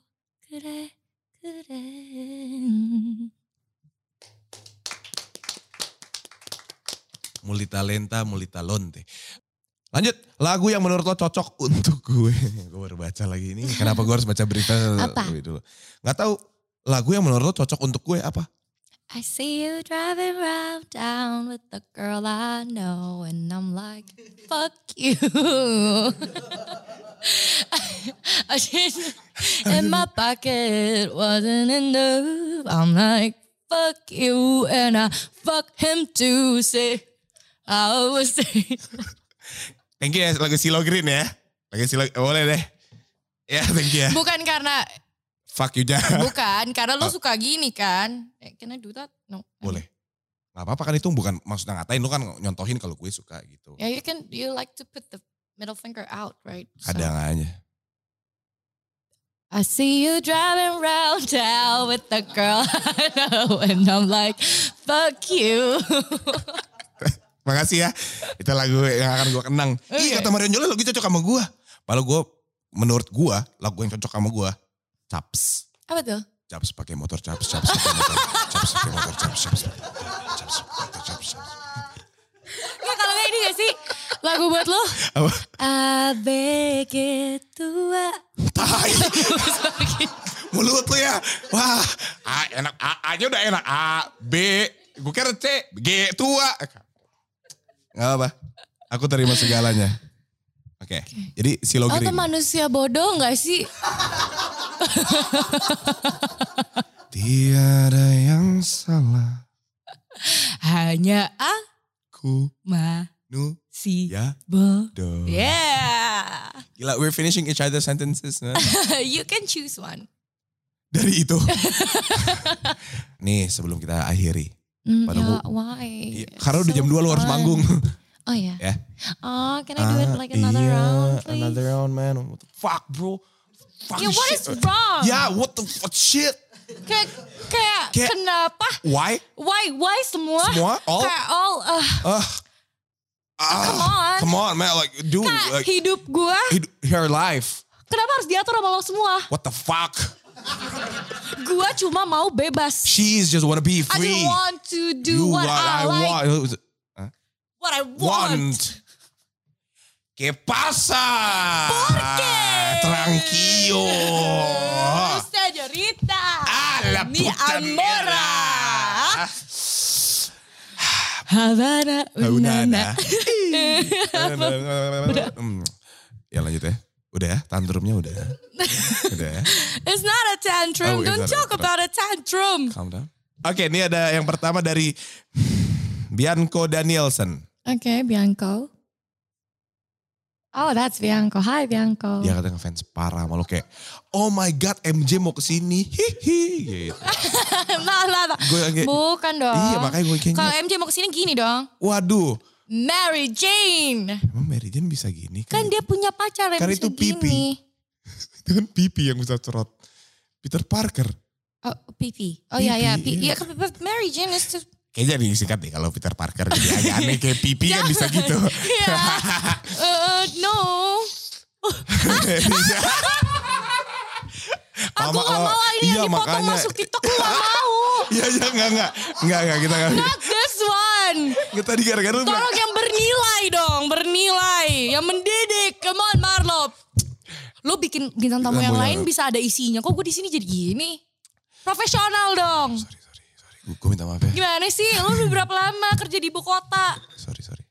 그래 그래
Multitalenta, multitalonte. Lanjut, lagu yang menurut lo cocok untuk gue. <laughs> gue baru baca lagi ini. Kenapa gue harus baca berita
Apa?
lebih dulu? Gak tahu lagu yang menurut lo cocok untuk gue apa?
I see you driving round town with the girl I know, and I'm like, fuck you. <laughs> I didn't, and my pocket wasn't enough. I'm like, fuck you, and I fuck him too. Say, I <laughs> always say,
Thank you ya, lagu Silo Green ya. Lagu Silo, boleh deh. Ya, thank you ya.
bukan karena,
Fuck you, Ja.
bukan karena lu suka gini kan? Eh, Can I do that? No.
Boleh. Gak apa-apa kan itu bukan maksudnya ngatain. Lu kan nyontohin kalau gue suka gitu.
Yeah, you can. You like to put the middle finger out, right? So-
Kadang aja.
I see you driving round town with the girl <laughs> I know, and I'm like, fuck you.
Makasih ya. Itu lagu yang akan gue kenang. Ih
Oke.
kata Marion Jola lagu cocok sama gue. Padahal gue menurut gue lagu yang cocok sama gue. Caps.
<laughs> Apa tuh?
Caps pakai motor, caps, caps pakai motor. Caps pakai motor, caps, caps. pakai motor, Caps pakai motor, caps. caps.
Nggak, Iya, kalau nggak ini gak sih lagu buat lo?
Apa?
ABG tua.
Tai. Mulut lu ya. Wah, A, enak. A, A-nya udah enak. A, B. Gue kira C, G, tua. Gak apa. Aku terima segalanya. Oke. Jadi silo
Oh,
green.
tuh manusia bodoh gak sih?
Tiada yang salah.
Hanya aku
Ku nu
si
ya Iya.
bo.
do.
Yeah.
Gila, we're finishing each other sentences. man. <laughs>
<laughs> you can choose one.
Dari
<laughs>
itu. Nih, sebelum kita akhiri.
Mm,
Padahal
ya,
gua-
why?
Iya, Karena udah jam 2 lu harus
fun.
manggung. <laughs>
Oh ya.
Ya.
Oh, can I do it
Ah,
like another
iya,
round, please?
Another round, man. What the fuck, bro? Fuck
Yeah, what
shit. Ya,
is wrong?
Yeah, what the fuck shit?
Kayak, kayak
Kayak-
kenapa?
Why?
Why, why semua?
Semua? All?
Kayak all, ah,
Ah. Ah,
Come on.
Come on, man. Like, dude.
Kak,
Like,
hidup gua
hid- her life.
kenapa harus diatur sama lo semua?
What the fuck?
Gua cuma mau bebas.
She's just wanna be
I
free.
just want to
You
do what, I, like,
want.
what I want.
want. ¿Qué pasa?
¿Por qué? <laughs>
Tranquilo. Ah.
Señorita.
A la
mi
puta Ah,
amora.
mierda.
Havana,
Oh,
nah, unana.
Unana.
<laughs>
Hmm. Ya lanjut ya. Udah ya, tantrumnya udah. Udah ya,
It's not
Oh,
a tantrum.
it's
Don't
not a-
talk about a tantrum.
calm down. Oke, ini ada yang pertama dari Bianco Danielson.
Okay, Bianco. Oh, that's Bianco. Hi, Bianco.
Dia kata ngefans parah sama lo kayak, oh my god MJ mau kesini, hihi. Gitu.
<laughs> nah, nah, nah.
Gue yang kayak,
Bukan dong.
Iya, makanya gue kayaknya-
Kalau MJ mau kesini gini dong.
waduh,
Mary Jane.
emang Mary Jane bisa gini?
Kan
Kayak-
dia punya pacar yang
Karena
bisa
Hmm. Kan itu pipi.
gini.
Itu kan pipi yang bisa cerot. Peter Parker.
Oh, pipi. Oh iya, iya.
Pipi,
Pi-
iya.
Iya, kan but Mary Jane is to...
Kayaknya disingkat deh kalau Peter Parker. Jadi
<laughs>
agak aneh kayak pipi kan bisa gitu.
Iya. Eh, Ya. no. Aku
Lama-
gak
lama-
mau ini
iya,
yang dipotong
makanya.
masuk TikTok. Aku gak mau.
Iya, iya, enggak, enggak. Enggak, enggak, kita enggak.
Not this one.
Enggak, tadi gara-gara lu bilang,
Tolong yang bernilai dong. Bernilai. Yang mendidik. Come on Marlo. Lo bikin bintang tamu
Bintang
yang
tamu yang
lain bisa ada isinya. Kok gue di sini jadi gini? Profesional dong.
Sorry, sorry, sorry. Gue minta maaf ya.
Gimana sih? Lu udah berapa lama kerja di ibu kota?
Sorry, sorry.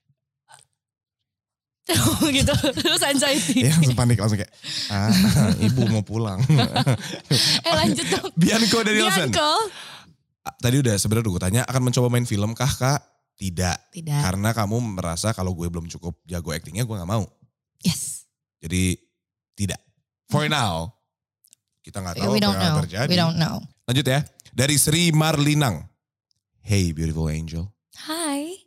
<laughs>
gitu. <laughs> Terus anxiety.
Iya langsung panik, langsung kayak, ah, <laughs> ibu mau pulang.
<laughs> Eh lanjut dong.
Bianco dari Nielsen.
Bianco.
Ah, Tadi udah sebenarnya udah gue tanya, akan mencoba main film kah kak? Tidak.
Tidak.
Karena kamu merasa kalau gue belum cukup jago actingnya gue gak mau.
Yes.
Jadi tidak. For now. Kita gak tahu
Hmm. We
apa
don't
yang
know.
akan terjadi.
We don't know.
Lanjut ya. Dari Sri Marlinang. Hey beautiful angel.
Hi.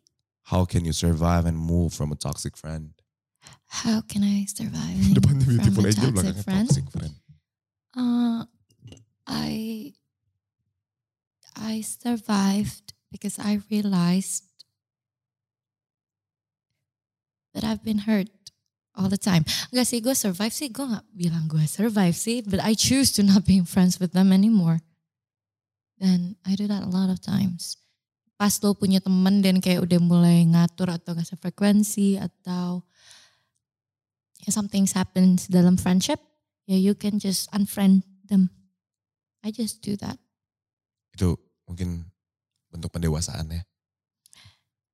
How can you survive and move from a toxic friend?
How can I survive?
<laughs> Depannya
from
beautiful
a
angel,
toxic
belakangnya
friend?
toxic friend.
Uh, I I survived because I realized that I've been hurt all the time. Enggak sih, gue survive sih, gue gak bilang gue survive sih, but I choose to not being friends with them anymore. Dan I do that a lot of times. Pas lo punya temen dan kayak udah mulai ngatur atau gak sefrekuensi atau ya something happens dalam friendship, yeah, you can just unfriend them. I just do that.
Itu mungkin bentuk pendewasaan ya.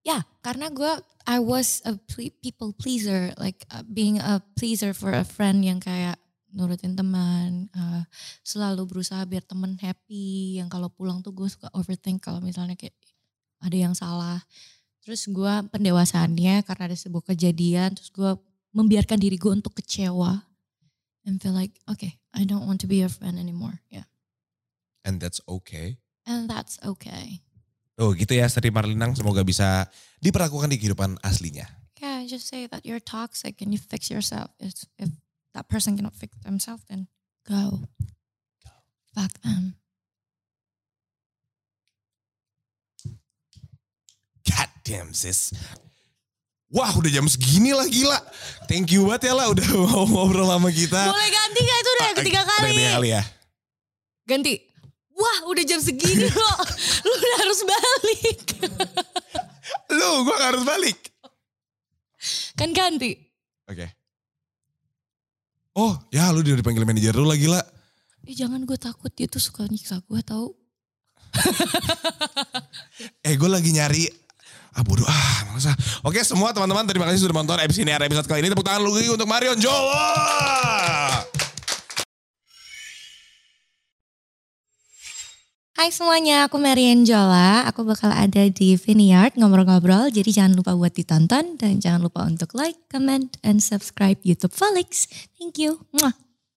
Yeah, karena gue I was a ple- people pleaser, like uh, being a pleaser for a friend yang kayak nurutin teman, uh, selalu berusaha biar teman happy. Yang kalau pulang tuh gue suka overthink kalau misalnya kayak ada yang salah. Terus gue pendewasaannya karena ada sebuah kejadian, terus gue membiarkan diri gue untuk kecewa and feel like okay, I don't want to be your friend anymore. Yeah,
And that's okay.
and that's okay.
Oh gitu ya Sri Marlinang semoga bisa diperlakukan di kehidupan aslinya.
Yeah, I just say that you're toxic and you fix yourself. If, if that person cannot fix themselves, then go. Fuck them.
God damn sis. Wah udah jam segini lah gila. Thank you banget ya lah udah <laughs> mau ngobrol sama kita.
Boleh ganti gak itu udah
Ah,
yang ketiga
Uh, udah
kali?
Ketiga kali ya.
Ganti. Wah udah jam
<laughs>
segini loh. Lu udah harus balik. <laughs>
Lu gue harus balik.
kan ganti.
Oke. Oh ya lu udah dipanggil manajer lu lah gila.
Eh jangan gue takut dia tuh suka nyiksa gue tau.
Eh gue lagi nyari. Ah bodoh ah males ah. Oke semua teman-teman terima kasih sudah nonton episode ini episode kali ini. Tepuk tangan lagi untuk Marion Jowo.
Hai semuanya, aku Marian Jola. Aku bakal ada di Vineyard ngobrol-ngobrol. Jadi jangan lupa buat ditonton dan jangan lupa untuk like, comment, and subscribe YouTube Felix. Thank you. Mwah.